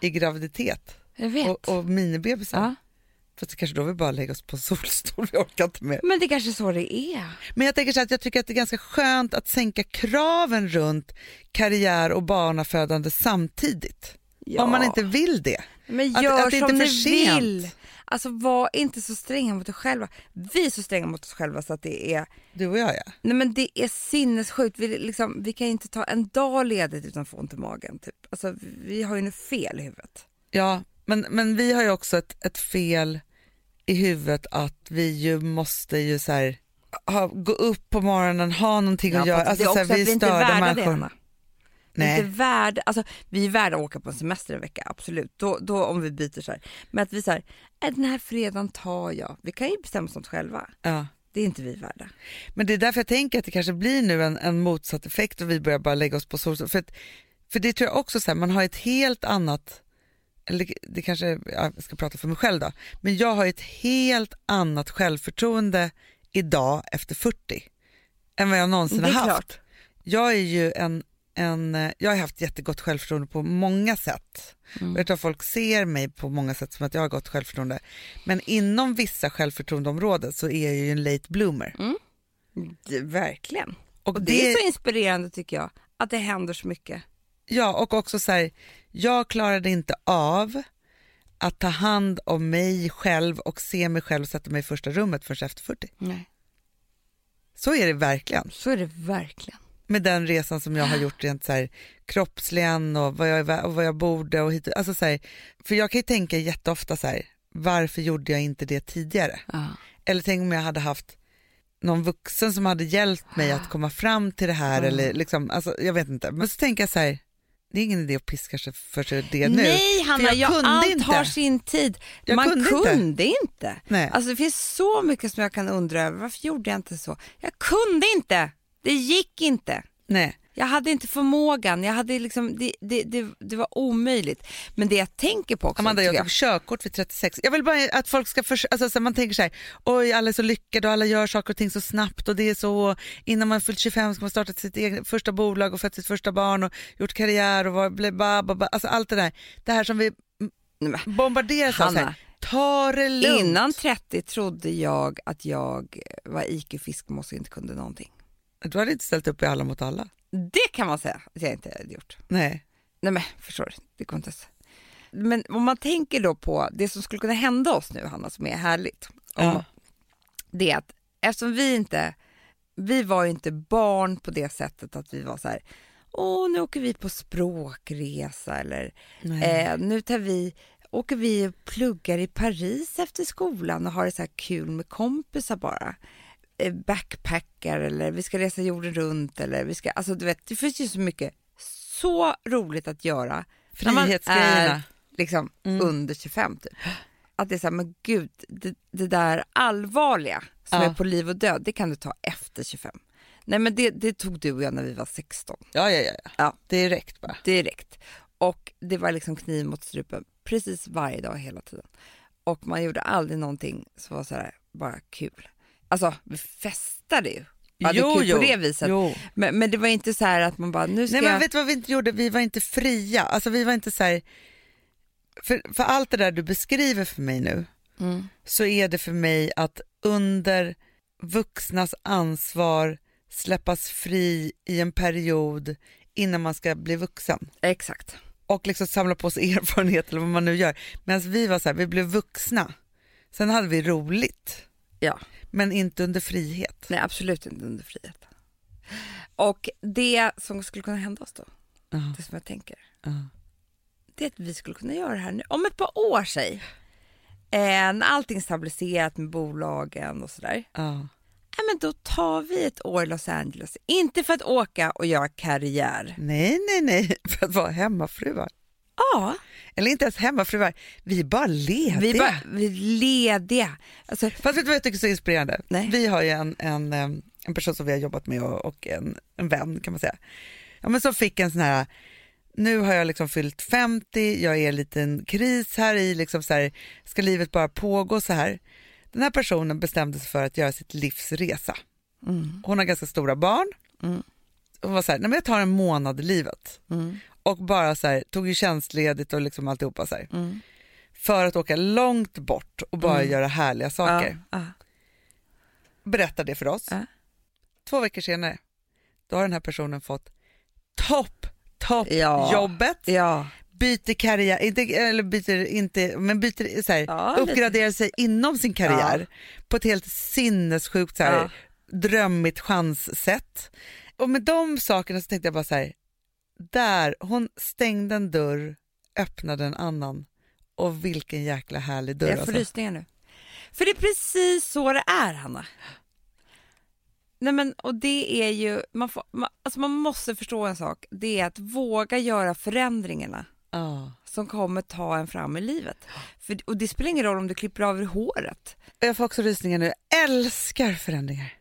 Speaker 2: i graviditet
Speaker 3: Jag vet.
Speaker 2: och, och minibebisar?
Speaker 3: ja.
Speaker 2: För det kanske då vi bara lägger oss på en solstol, vi orkar inte mer.
Speaker 3: Men det är kanske är så det är.
Speaker 2: Men jag tänker så här att jag tycker att det är ganska skönt att sänka kraven runt karriär och barnafödande samtidigt.
Speaker 3: Ja.
Speaker 2: Om man inte vill det.
Speaker 3: Men
Speaker 2: Att-
Speaker 3: gör
Speaker 2: att det inte
Speaker 3: som
Speaker 2: är
Speaker 3: ni
Speaker 2: för sent.
Speaker 3: vill. Alltså var inte så stränga mot er själva. Vi är så stränga mot oss själva så att det är,
Speaker 2: Du och jag ja.
Speaker 3: nej men det är sinnessjukt. Vi, liksom, vi kan ju inte ta en dag ledigt utan att få ont i magen. Typ. Alltså, vi har ju något fel i huvudet.
Speaker 2: Ja, men, men vi har ju också ett, ett fel i huvudet att vi ju måste ju så här, ha, gå upp på morgonen, ha någonting att
Speaker 3: Ja,
Speaker 2: göra.
Speaker 3: fast det är
Speaker 2: Alltså, så här,
Speaker 3: också att
Speaker 2: vi
Speaker 3: vi inte är
Speaker 2: störda
Speaker 3: värda det,
Speaker 2: människor.
Speaker 3: Hanna. Vi är
Speaker 2: Nej.
Speaker 3: Inte värd, alltså, vi är värda att åka på en semester en vecka, absolut. Då, då om vi byter så här. Men att vi säger, den här fredagen tar jag. Vi kan ju bestämma sånt själva.
Speaker 2: Ja.
Speaker 3: Det är inte vi värda.
Speaker 2: Men det är därför jag tänker att det kanske blir nu en, en motsatt effekt och vi börjar bara lägga oss på solstol. För, att- för det tror jag också, så här, man har ett helt annat, eller det kanske, ja, jag ska prata för mig själv då, men jag har ett helt annat självförtroende idag efter 40 än vad jag någonsin
Speaker 3: Det är
Speaker 2: har haft.
Speaker 3: klart.
Speaker 2: Jag är ju en, en, eh, jag har haft jättegott självförtroende på många sätt. Och Jag tror att folk ser mig på många sätt som att jag har gott självförtroende. Men inom vissa självförtroendeområden så är jag ju en late bloomer.
Speaker 3: Det, verkligen.
Speaker 2: Och
Speaker 3: Och det... är så inspirerande tycker jag, att det händer så mycket.
Speaker 2: Ja, och också så här, jag klarade inte av att ta hand om mig själv och se mig själv och sätta mig i första rummet förrän efter 40.
Speaker 3: Nej.
Speaker 2: Så är det verkligen.
Speaker 3: Så är det verkligen.
Speaker 2: Med den resan som jag har gjort rent så här, kroppsligen och vad jag, är vä- och vad jag borde och hit, alltså så här, För jag kan ju tänka jätteofta så här, varför gjorde jag inte det tidigare?
Speaker 3: Ja.
Speaker 2: Eller tänk om jag hade haft någon vuxen som hade hjälpt mig att komma fram till det här eller liksom, alltså, jag vet inte. Men så tänker jag så här, det är ingen idé att piska sig för sig det nu.
Speaker 3: Nej Hanna,
Speaker 2: jag
Speaker 3: jag
Speaker 2: kunde
Speaker 3: allt
Speaker 2: inte.
Speaker 3: har sin tid.
Speaker 2: Jag
Speaker 3: Man
Speaker 2: kunde inte.
Speaker 3: kunde inte.
Speaker 2: Nej.
Speaker 3: Alltså det finns så mycket som jag kan undra över. Varför gjorde jag inte så? Jag kunde inte. Det gick inte.
Speaker 2: Nej.
Speaker 3: Jag hade inte förmågan. Jag hade liksom, det, det, det, det var omöjligt. Men det jag tänker på också.
Speaker 2: Amanda,
Speaker 3: tycker
Speaker 2: jag tog körkort vid 36. Jag vill bara att folk ska förs- alltså, så man tänker så här, oj alla är så lyckade och alla gör saker och ting så snabbt och det är så, innan man fyllt 25 ska man starta sitt eget, första bolag och fött sitt första barn och gjort karriär och var, bla, bla, bla, bla, alltså allt det där. Det här som vi
Speaker 3: Nej, men-
Speaker 2: bombarderas av, så här,
Speaker 3: Hanna.
Speaker 2: ta det lugnt.
Speaker 3: Innan 30 trodde jag att jag var IQ-fiskmås och inte kunde någonting.
Speaker 2: Du hade inte ställt upp i Alla mot alla.
Speaker 3: Det kan man säga att jag inte hade gjort.
Speaker 2: Nej.
Speaker 3: Nej men förstår du, det går inte ens. Men om man tänker då på det som skulle kunna hända oss nu Hanna som är härligt. Om,
Speaker 2: Ja.
Speaker 3: Det är att eftersom vi inte, vi var ju inte barn på det sättet att vi var så här åh nu åker vi på språkresa eller eh, nu tar vi, åker vi och pluggar i Paris efter skolan och har det så här kul med kompisar bara eh, backpackar eller vi ska resa jorden runt eller vi ska, alltså du vet, det finns ju så mycket så roligt att göra när man
Speaker 2: Frihetsgrejerna.
Speaker 3: är liksom under 25 typ. Att det är så här, men gud, det, det där allvarliga som
Speaker 2: Ja.
Speaker 3: är på liv och död, det kan du ta efter 25. Nej men det, det tog du och jag när vi var 16
Speaker 2: Ja, ja, ja,
Speaker 3: Ja.
Speaker 2: Direkt bara.
Speaker 3: direkt. Och det var liksom kniv mot strupen precis varje dag hela tiden. Och man gjorde aldrig någonting som var så här, bara kul. Alltså vi festade ju. Vi hade
Speaker 2: Jo,
Speaker 3: kul
Speaker 2: jo.
Speaker 3: på det viset.
Speaker 2: Jo.
Speaker 3: Men, men det var inte så här att man bara, nu ska
Speaker 2: Nej men
Speaker 3: jag...
Speaker 2: vet du vad vi inte gjorde? Vi var inte fria. Alltså vi var inte så här... För, för allt det där du beskriver för mig nu
Speaker 3: Mm.
Speaker 2: så är det för mig att under vuxnas ansvar släppas fri i en period innan man ska bli vuxen
Speaker 3: Exakt.
Speaker 2: och liksom samla på sig erfarenhet eller vad man nu gör. Medan vi var så här, vi blev vuxna. Sen hade vi roligt,
Speaker 3: Ja,
Speaker 2: men inte under frihet.
Speaker 3: nej absolut inte under frihet. Och det som skulle kunna hända oss då,
Speaker 2: Ja.
Speaker 3: det som jag tänker,
Speaker 2: Ja.
Speaker 3: det är att vi skulle kunna göra det här nu, om ett par år säg. Eh, när allting är stabiliserat med bolagen och sådär.
Speaker 2: Ja.
Speaker 3: Ja, men då tar vi ett år i Los Angeles. Inte för att åka och göra karriär.
Speaker 2: Nej, nej, nej, för att vara hemmafruar.
Speaker 3: Ja,
Speaker 2: Eller inte ens hemmafruar, vi är bara lediga.
Speaker 3: vi, bara, vi är lediga. Alltså,
Speaker 2: Fast vet du vad jag tycker är så inspirerande?
Speaker 3: Nej.
Speaker 2: Vi har ju en, en, eh, en person som vi har jobbat med och, och en, en vän kan man säga. Ja, men som fick en sån här, nu har jag liksom fyllt 50, jag är i en liten kris här i, liksom så här, ska livet bara pågå så här? Den här personen bestämde sig för att göra sitt livs resa. Hon har ganska stora barn.
Speaker 3: Mm.
Speaker 2: Hon var så här, nej men jag tar en månad i livet. Och bara så här, tog ju tjänstledigt och liksom alltihopa så här.
Speaker 3: Mm.
Speaker 2: För att åka långt bort och bara göra härliga saker
Speaker 3: ja,
Speaker 2: berättar det för oss.
Speaker 3: Ja.
Speaker 2: Två veckor senare, då har den här personen fått topp, topp
Speaker 3: Ja.
Speaker 2: jobbet,
Speaker 3: ja,
Speaker 2: byter karriär, inte, eller byter inte, men byter så här,
Speaker 3: Ja, lite.
Speaker 2: uppgraderar sig inom sin karriär på ett helt sinnessjukt så här,
Speaker 3: Ja.
Speaker 2: drömmigt chanssätt. Och med de sakerna så tänkte jag bara så här, där, hon stängde en dörr, öppnade en annan och vilken jäkla härlig dörr alltså.
Speaker 3: jag får rysningar nu. För det är precis så det är, Hanna. Nej, men, och det är ju, man, får, man, alltså man måste förstå en sak. Det är att våga göra förändringarna
Speaker 2: Ja.
Speaker 3: som kommer ta en fram i livet. För, och det spelar ingen roll om du klipper av dig håret.
Speaker 2: Och Jag får också rysningar nu. Jag älskar förändringar.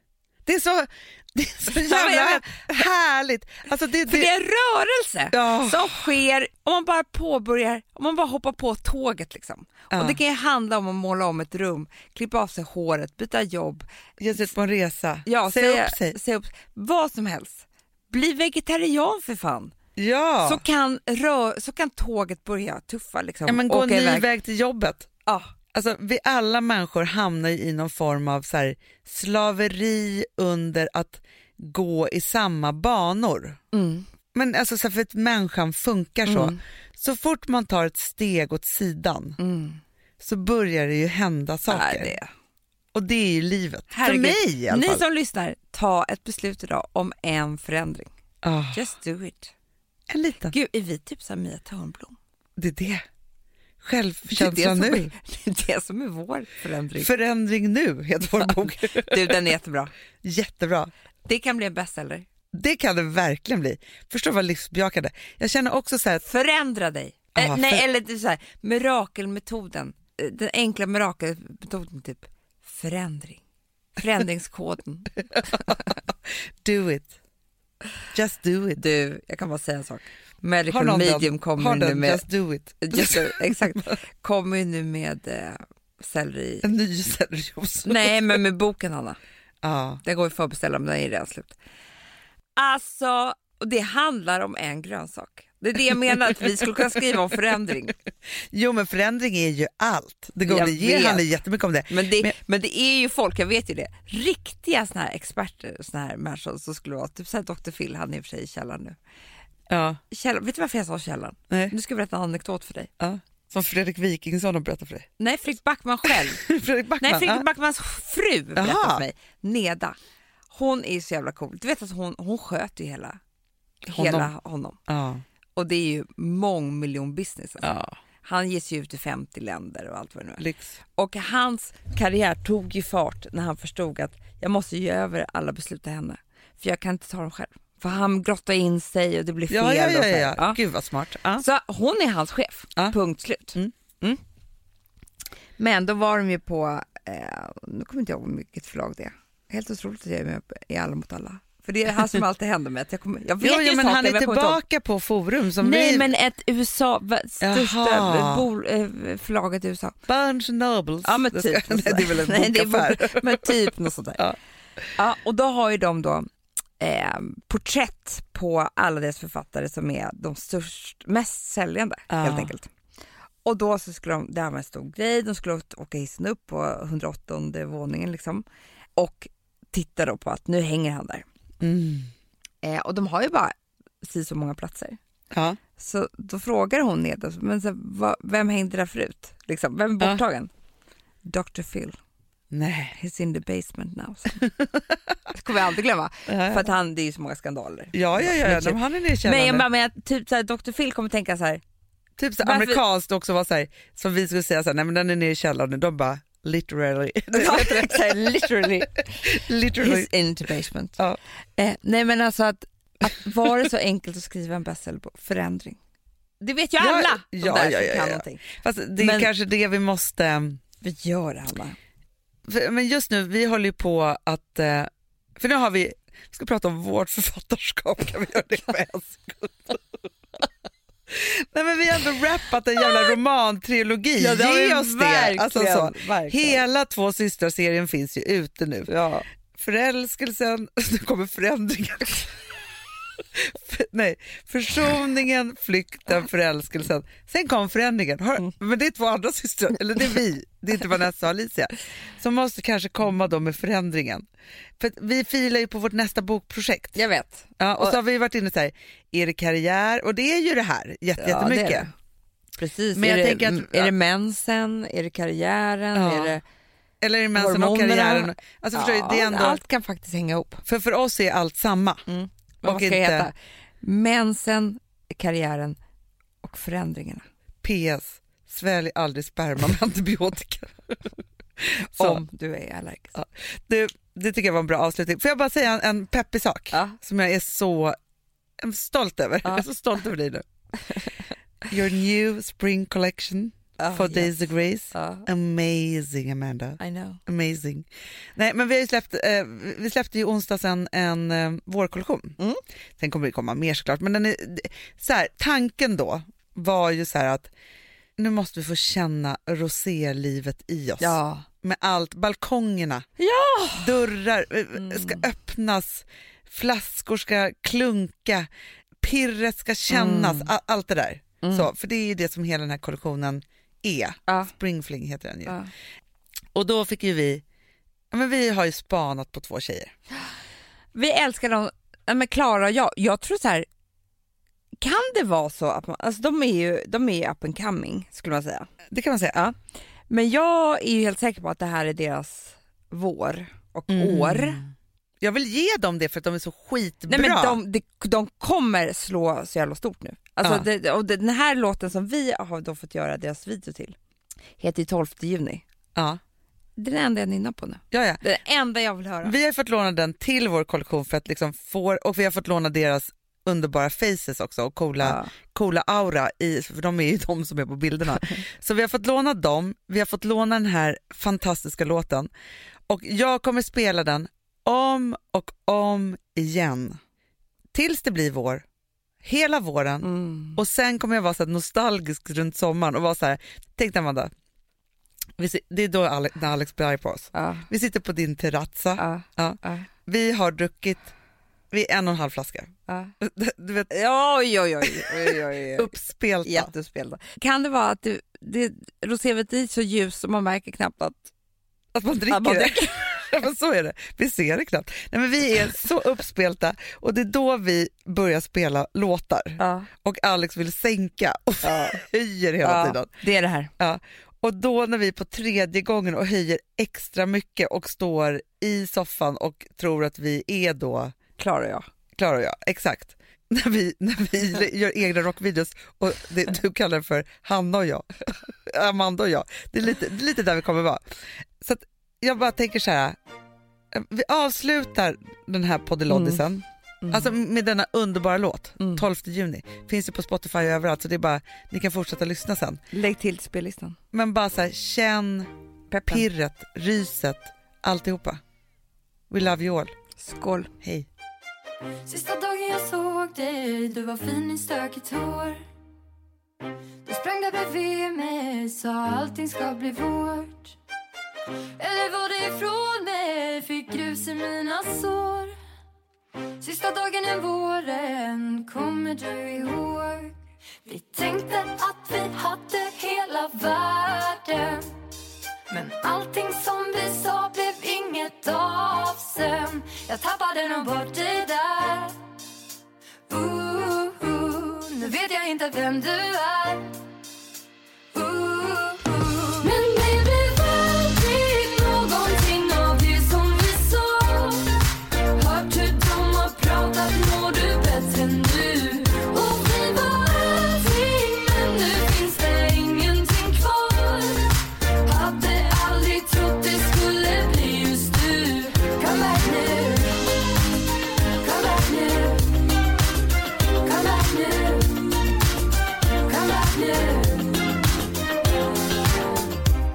Speaker 2: Det är så, det är så
Speaker 3: Ja, men jag
Speaker 2: jävla härligt. Alltså det,
Speaker 3: För det
Speaker 2: det,
Speaker 3: är en rörelse
Speaker 2: Ja.
Speaker 3: som sker om man bara påbörjar, om man bara hoppar på tåget liksom.
Speaker 2: Ja.
Speaker 3: Och det kan ju handla om att måla om ett rum, klippa av sig håret, byta jobb,
Speaker 2: ge sig ut på en resa,
Speaker 3: ja,
Speaker 2: säga upp sig.
Speaker 3: säga upp vad som helst. Bli vegetarian för fan.
Speaker 2: Ja.
Speaker 3: Så, kan rö- så kan tåget börja tuffa liksom.
Speaker 2: ja men gå en
Speaker 3: Åka
Speaker 2: ny
Speaker 3: iväg.
Speaker 2: väg till jobbet.
Speaker 3: Ja,
Speaker 2: Alltså, vi alla människor hamnar ju i någon form av så här, slaveri under att gå i samma banor.
Speaker 3: mm.
Speaker 2: Men alltså, så här, för att människan funkar så. Så fort man tar ett steg åt sidan
Speaker 3: Mm.
Speaker 2: så börjar det ju hända saker.
Speaker 3: Ja, det.
Speaker 2: Och det är ju livet.
Speaker 3: Herregud.
Speaker 2: För mig i alla
Speaker 3: Ni
Speaker 2: fall.
Speaker 3: som lyssnar, ta ett beslut idag om en förändring.
Speaker 2: Ah,
Speaker 3: Just do it.
Speaker 2: en liten.
Speaker 3: Gud, är vi typ som Mia Törnblom?
Speaker 2: Det är det.
Speaker 3: Det är det,
Speaker 2: Självkänsla
Speaker 3: som
Speaker 2: nu.
Speaker 3: är, det är det som är vår förändring.
Speaker 2: Förändring nu heter vår bok.
Speaker 3: Du, den är jättebra.
Speaker 2: Jättebra.
Speaker 3: Det kan bli en bestseller.
Speaker 2: Det kan det verkligen bli. Förstå vad livsbejakande. Jag känner också så här att
Speaker 3: Förändra dig. Eh,
Speaker 2: Ja,
Speaker 3: nej,
Speaker 2: för-
Speaker 3: eller det är så här, mirakelmetoden. Eh, Den enkla mirakelmetoden, typ förändring. Förändringskoden.
Speaker 2: do it. Just do it.
Speaker 3: Du, jag kan bara säga en sak.
Speaker 2: Har
Speaker 3: Medical
Speaker 2: någon den?
Speaker 3: medium kommer
Speaker 2: Har
Speaker 3: ju nu
Speaker 2: den
Speaker 3: med...
Speaker 2: just do it.
Speaker 3: Just, det, exakt. Kommer ju nu med eh, selleri...
Speaker 2: En ny sellerijuice.
Speaker 3: Nej, men med boken, Hanna.
Speaker 2: Ja.
Speaker 3: Den går ju att förbeställa, men den är redan slut. Alltså, och det handlar om en grönsak. Det är det jag menar, att vi skulle kunna skriva om förändring.
Speaker 2: Jo men förändring är ju allt. Det går
Speaker 3: Jag
Speaker 2: det ger
Speaker 3: vet.
Speaker 2: handlar jättemycket om det.
Speaker 3: Men det, men,
Speaker 2: Men-
Speaker 3: det är ju folk, jag vet ju det, riktiga såna här experter, såna här människor som skulle vara, typ såhär Dr Phil, han är i och för sig i källaren nu.
Speaker 2: Ja.
Speaker 3: Källaren, vet du varför jag sa källaren?
Speaker 2: Nej.
Speaker 3: Nu ska jag berätta en anekdot för dig.
Speaker 2: ja. Som Fredrik Wikingsson har berättat för dig.
Speaker 3: Nej, Fredrik Backman själv.
Speaker 2: Fredrik Backman.
Speaker 3: Nej, Fredrik
Speaker 2: ja.
Speaker 3: Backmans fru berättade
Speaker 2: Jaha.
Speaker 3: för mig, Neda. Hon är ju så jävla cool. Du vet att hon, hon sköt ju hela honom. Hela honom.
Speaker 2: Ja.
Speaker 3: Och det är ju mångmiljonbusiness. Alltså.
Speaker 2: ja,
Speaker 3: Han ges ju ut i 50 länder och allt vad det nu är.
Speaker 2: lyx.
Speaker 3: Och hans karriär tog ju fart när han förstod att jag måste ge över alla beslut till henne. För jag kan inte ta dem själv. För han grottar in sig och det blir fel.
Speaker 2: Ja, ja,
Speaker 3: och
Speaker 2: ja,
Speaker 3: så, här.
Speaker 2: ja.
Speaker 3: Ja.
Speaker 2: Gud vad smart. Ja.
Speaker 3: så hon är hans chef,
Speaker 2: Ja.
Speaker 3: punkt slut.
Speaker 2: Mm.
Speaker 3: Mm. Men då var de ju på, eh, nu kommer inte jag ihåg vilket förlag det är. Helt otroligt att jag är med i Alla mot alla. För det är det här som alltid händer med att jag kommer, jag vet
Speaker 2: Jo,
Speaker 3: ju
Speaker 2: ja, men
Speaker 3: saker,
Speaker 2: han är
Speaker 3: jag kommer inte ihåg.
Speaker 2: tillbaka på forum som
Speaker 3: Nej
Speaker 2: vi...
Speaker 3: men ett USA, va- största
Speaker 2: Jaha.
Speaker 3: bol, eh, förlaget i USA.
Speaker 2: Barnes Nobles.
Speaker 3: Ja men
Speaker 2: Det
Speaker 3: typ.
Speaker 2: ska- Nej, det är väl en
Speaker 3: Nej, det är
Speaker 2: bokaffär.
Speaker 3: bok- Men typ något sånt där. Ja.
Speaker 2: Ja.
Speaker 3: och då har ju de då eh, porträtt på alla deras författare som är de störst, mest säljande
Speaker 2: Ja.
Speaker 3: helt enkelt. Och då så skulle de, det här var en stor grej, de skulle åt- åka hissen upp på 108 våningen liksom och titta då på att nu hänger han där.
Speaker 2: Mm.
Speaker 3: Eh, och de har ju bara si så många platser.
Speaker 2: Ja.
Speaker 3: Så då frågar hon Neda, men så, här, vad, vem hängde där förut? Liksom, vem är
Speaker 2: Ja.
Speaker 3: borttagen? Dr Phil.
Speaker 2: Nej.
Speaker 3: He's in the basement now. sa han. det kommer jag aldrig glömma. För att han, det är ju så många skandaler.
Speaker 2: Ja, ja, ja. ja. De, han är
Speaker 3: Men
Speaker 2: nedkännande.
Speaker 3: jag bara, men jag, typ såhär, Dr Phil kommer tänka så här.
Speaker 2: Typ så
Speaker 3: Varför-
Speaker 2: amerikanskt också var så här, som vi skulle säga så här, nej men den är nere i källaren. De bara literally.
Speaker 3: så här, literally,
Speaker 2: literally.
Speaker 3: he's in the basement.
Speaker 2: Ja.
Speaker 3: Eh, nej men alltså att, att var det så enkelt att skriva en bestsellerbok, förändring. Det vet ju
Speaker 2: Ja,
Speaker 3: alla de
Speaker 2: ja,
Speaker 3: där
Speaker 2: ja,
Speaker 3: som
Speaker 2: ja,
Speaker 3: kan
Speaker 2: ja.
Speaker 3: någonting.
Speaker 2: Fast det är
Speaker 3: Men-
Speaker 2: kanske det vi måste...
Speaker 3: Vi gör det Hanna.
Speaker 2: För, men just nu, vi håller ju på att... eh, För nu har vi... Vi ska prata om vårt författarskap, kan vi göra det med en sekund? Nej men vi har ändå rappat en jävla romantrilogi, ge oss det! Alltså, så. Hela Två systrar-serien finns ju ute nu.
Speaker 3: Ja.
Speaker 2: Förälskelsen, nu kommer förändringen. För- Nej, försoningen, flykten, förälskelsen. Sen kom förändringen.
Speaker 3: Mm.
Speaker 2: Har, men det är två andra systrar, eller det är vi, det är inte Vanessa och Alicia, som måste kanske komma då med förändringen. För att vi filar ju på vårt nästa bokprojekt.
Speaker 3: Jag vet.
Speaker 2: Ja, och så har vi varit inne så här, är det karriär? Och det är ju det här, jätte,
Speaker 3: Ja, det är
Speaker 2: jättemycket.
Speaker 3: det. Precis,
Speaker 2: Men
Speaker 3: är,
Speaker 2: jag
Speaker 3: det,
Speaker 2: tänker att-
Speaker 3: är det mensen, är det karriären,
Speaker 2: Ja.
Speaker 3: är det
Speaker 2: Eller är det mensen och
Speaker 3: Hormonerna.
Speaker 2: karriären? Alltså förstår du, det är
Speaker 3: Ja,
Speaker 2: ändå,
Speaker 3: Allt kan faktiskt hänga ihop.
Speaker 2: För för oss är allt samma.
Speaker 3: Mm. Men vad
Speaker 2: Och
Speaker 3: ska det
Speaker 2: inte-
Speaker 3: heta? Mensen, karriären och förändringarna.
Speaker 2: PS. Svälj aldrig sperma med antibiotika. Så.
Speaker 3: Om du är allergisk.
Speaker 2: Ja. Du, det tycker jag var en bra avslutning. Får jag bara säga en, en peppig sak
Speaker 3: Ja.
Speaker 2: som jag är så jag är stolt över.
Speaker 3: Ja.
Speaker 2: Jag är så stolt över dig nu. Your new spring collection
Speaker 3: Ah,
Speaker 2: for
Speaker 3: yes.
Speaker 2: Days of Grace.
Speaker 3: Ja,
Speaker 2: Amazing Amanda.
Speaker 3: I know.
Speaker 2: Amazing. Nej, men vi, har ju släppt, eh, vi släppte ju onsdags en, en eh, vårkollektion.
Speaker 3: Mm.
Speaker 2: Sen kommer det komma mer såklart. Men den är, d- så här, tanken då var ju så här att nu måste vi få känna rosélivet i oss.
Speaker 3: Ja.
Speaker 2: Med allt, balkongerna, dörrar eh,
Speaker 3: Mm.
Speaker 2: ska öppnas, flaskor ska klunka, pirret ska kännas,
Speaker 3: Mm.
Speaker 2: a- allt det där. Så, för det är ju det som hela den här kollektionen är.
Speaker 3: Ja.
Speaker 2: Springfling heter den ju.
Speaker 3: Ja.
Speaker 2: Och då fick ju vi, ja, men vi har ju spanat på två tjejer.
Speaker 3: Vi älskar dem, Ja, men Klara och jag, jag tror så här, kan det vara så att man, alltså de är ju, de är ju up and coming skulle man säga.
Speaker 2: Det kan man säga.
Speaker 3: Ja. Men jag är ju helt säker på att det här är deras vår och
Speaker 2: Mm.
Speaker 3: år.
Speaker 2: Jag vill ge dem det för att de är så skitbra.
Speaker 3: Nej, men de, de, de kommer slå så jävla stort nu. Alltså,
Speaker 2: Ja.
Speaker 3: det, och det, den här låten som vi har då fått göra deras video till heter ju 12 juni.
Speaker 2: ja.
Speaker 3: Det är den enda jag nynnar på nu.
Speaker 2: Ja, ja.
Speaker 3: Det är det enda jag vill höra.
Speaker 2: Vi har fått låna den till vår kollektion för att liksom få, och vi har fått låna deras underbara faces också och coola,
Speaker 3: Ja.
Speaker 2: coola aura, i, för de är ju de som är på bilderna. Så vi har fått låna dem, vi har fått låna den här fantastiska låten och jag kommer spela den om och om igen. Tills det blir vår, hela våren
Speaker 3: Mm.
Speaker 2: och sen kommer jag vara så här nostalgisk runt sommaren och vara så här, tänk dig Amanda, vi, si- det är då Alex, när Alex blir arg på oss.
Speaker 3: Ja,
Speaker 2: Vi sitter på din terrazza,
Speaker 3: ja,
Speaker 2: Ja.
Speaker 3: ja,
Speaker 2: vi har druckit vi är en och en halv flaska.
Speaker 3: ja.
Speaker 2: Du vet,
Speaker 3: Oj, oj, oj. oj, oj, oj.
Speaker 2: uppspelta.
Speaker 3: Jättespelda. Kan det vara att det, det, rosévinet är så ljust så man märker knappt att...
Speaker 2: Att man dricker
Speaker 3: Att man
Speaker 2: det. ja, men så är det. Vi ser det knappt. Nej, men vi är så uppspelta och det är då vi börjar spela låtar.
Speaker 3: Ja,
Speaker 2: Och Alex vill sänka och höjer hela tiden.
Speaker 3: det är det här.
Speaker 2: Och då när vi är på tredje gången och höjer extra mycket och står i soffan och tror att vi är då
Speaker 3: Klarar jag.
Speaker 2: Klara och jag, exakt. När vi, när vi gör egna rockvideos och det, du kallar det för Hanna och jag, Amanda och jag. Det är lite, det är lite där vi kommer vara. Så att jag bara tänker så här, eh, vi avslutar den här poddeloddisen,
Speaker 3: Mm.
Speaker 2: alltså med denna underbara låt, 12 juni. Finns ju på Spotify och överallt så det är bara, ni kan fortsätta lyssna sen.
Speaker 3: Lägg till spellistan.
Speaker 2: Men bara så här, känn
Speaker 3: Peppen.
Speaker 2: pirret, ryset, alltihopa. We love you all.
Speaker 3: Skål.
Speaker 2: Hej.
Speaker 6: Sista dagen jag såg dig, du var fin i stökigt hår Du sprang där bredvid mig, sa allting ska bli vårt Eller var det ifrån mig, fick grus i mina sår Sista dagen i våren, kommer du ihåg? Vi tänkte att vi hade hela världen men allting som vi sa blev inget av sen Jag tappade nog bort dig där Ooh, nu vet jag inte vem du är Ooh, Men det blev aldrig någonting av det som vi sa Hört hur de har pratat mår du bättre nu Och vi var allting men nu finns det ingenting kvar Hade aldrig trott det skulle bli just du Come back nu Come back nu Come back nu Come back nu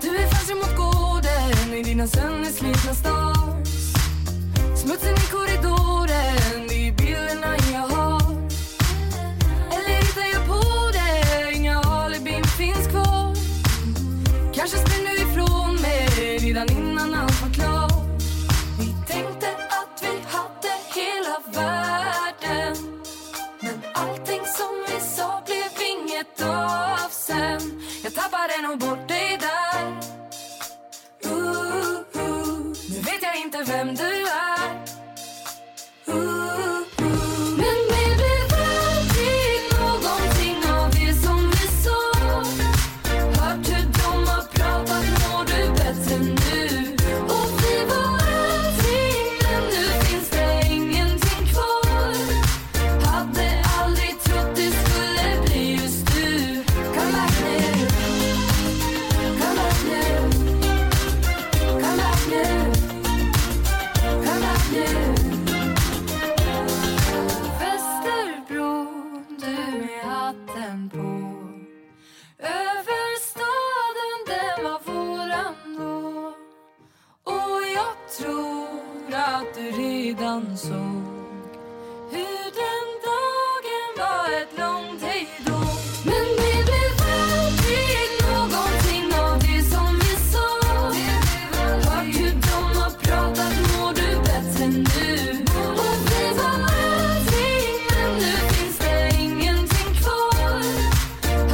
Speaker 6: Du är fönstret mot gården i dina sönderslitna stars Smutsen i korridoren, det är bilderna jag har Eller hittar jag på det, inga alibin finns kvar Kanske sprang du ifrån mig redan innan allt var klart Vi tänkte att vi hade hela världen Men allting som vi sa blev inget av sen Jag tappade nog bort dig där Ooh, ooh, nu vet jag inte vem du är Ooh, ooh. Men det blev aldrig någonting av det som vi sa Hört hur de har pratat, mår du bättre nu? Och vi var allting, men nu finns det ingenting kvar Hade aldrig trott det skulle bli just du Come back nu Come back nu Come back nu. Come back nu. Västerbron, du med hatten på. Över staden, den var våran då. Och jag tror att du redan såg hur den dagen var ett långt hejdå Men det blev aldrig någonting av det som vi sa Hört hur de har pratat, mår du bättre nu? Och vi var allting, men nu finns det ingenting kvar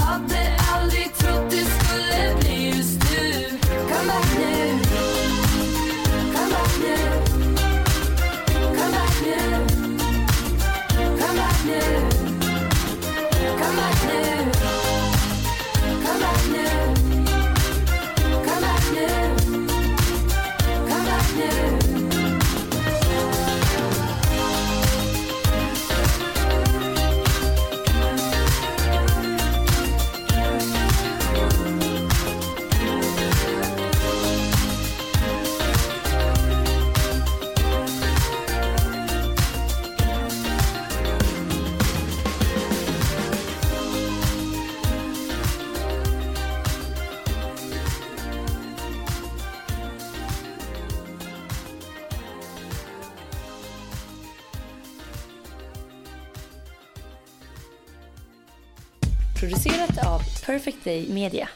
Speaker 6: Hade aldrig trott det skulle bli just du Come back nu Come back nu Come back nu
Speaker 7: producerat av Perfect Day Media.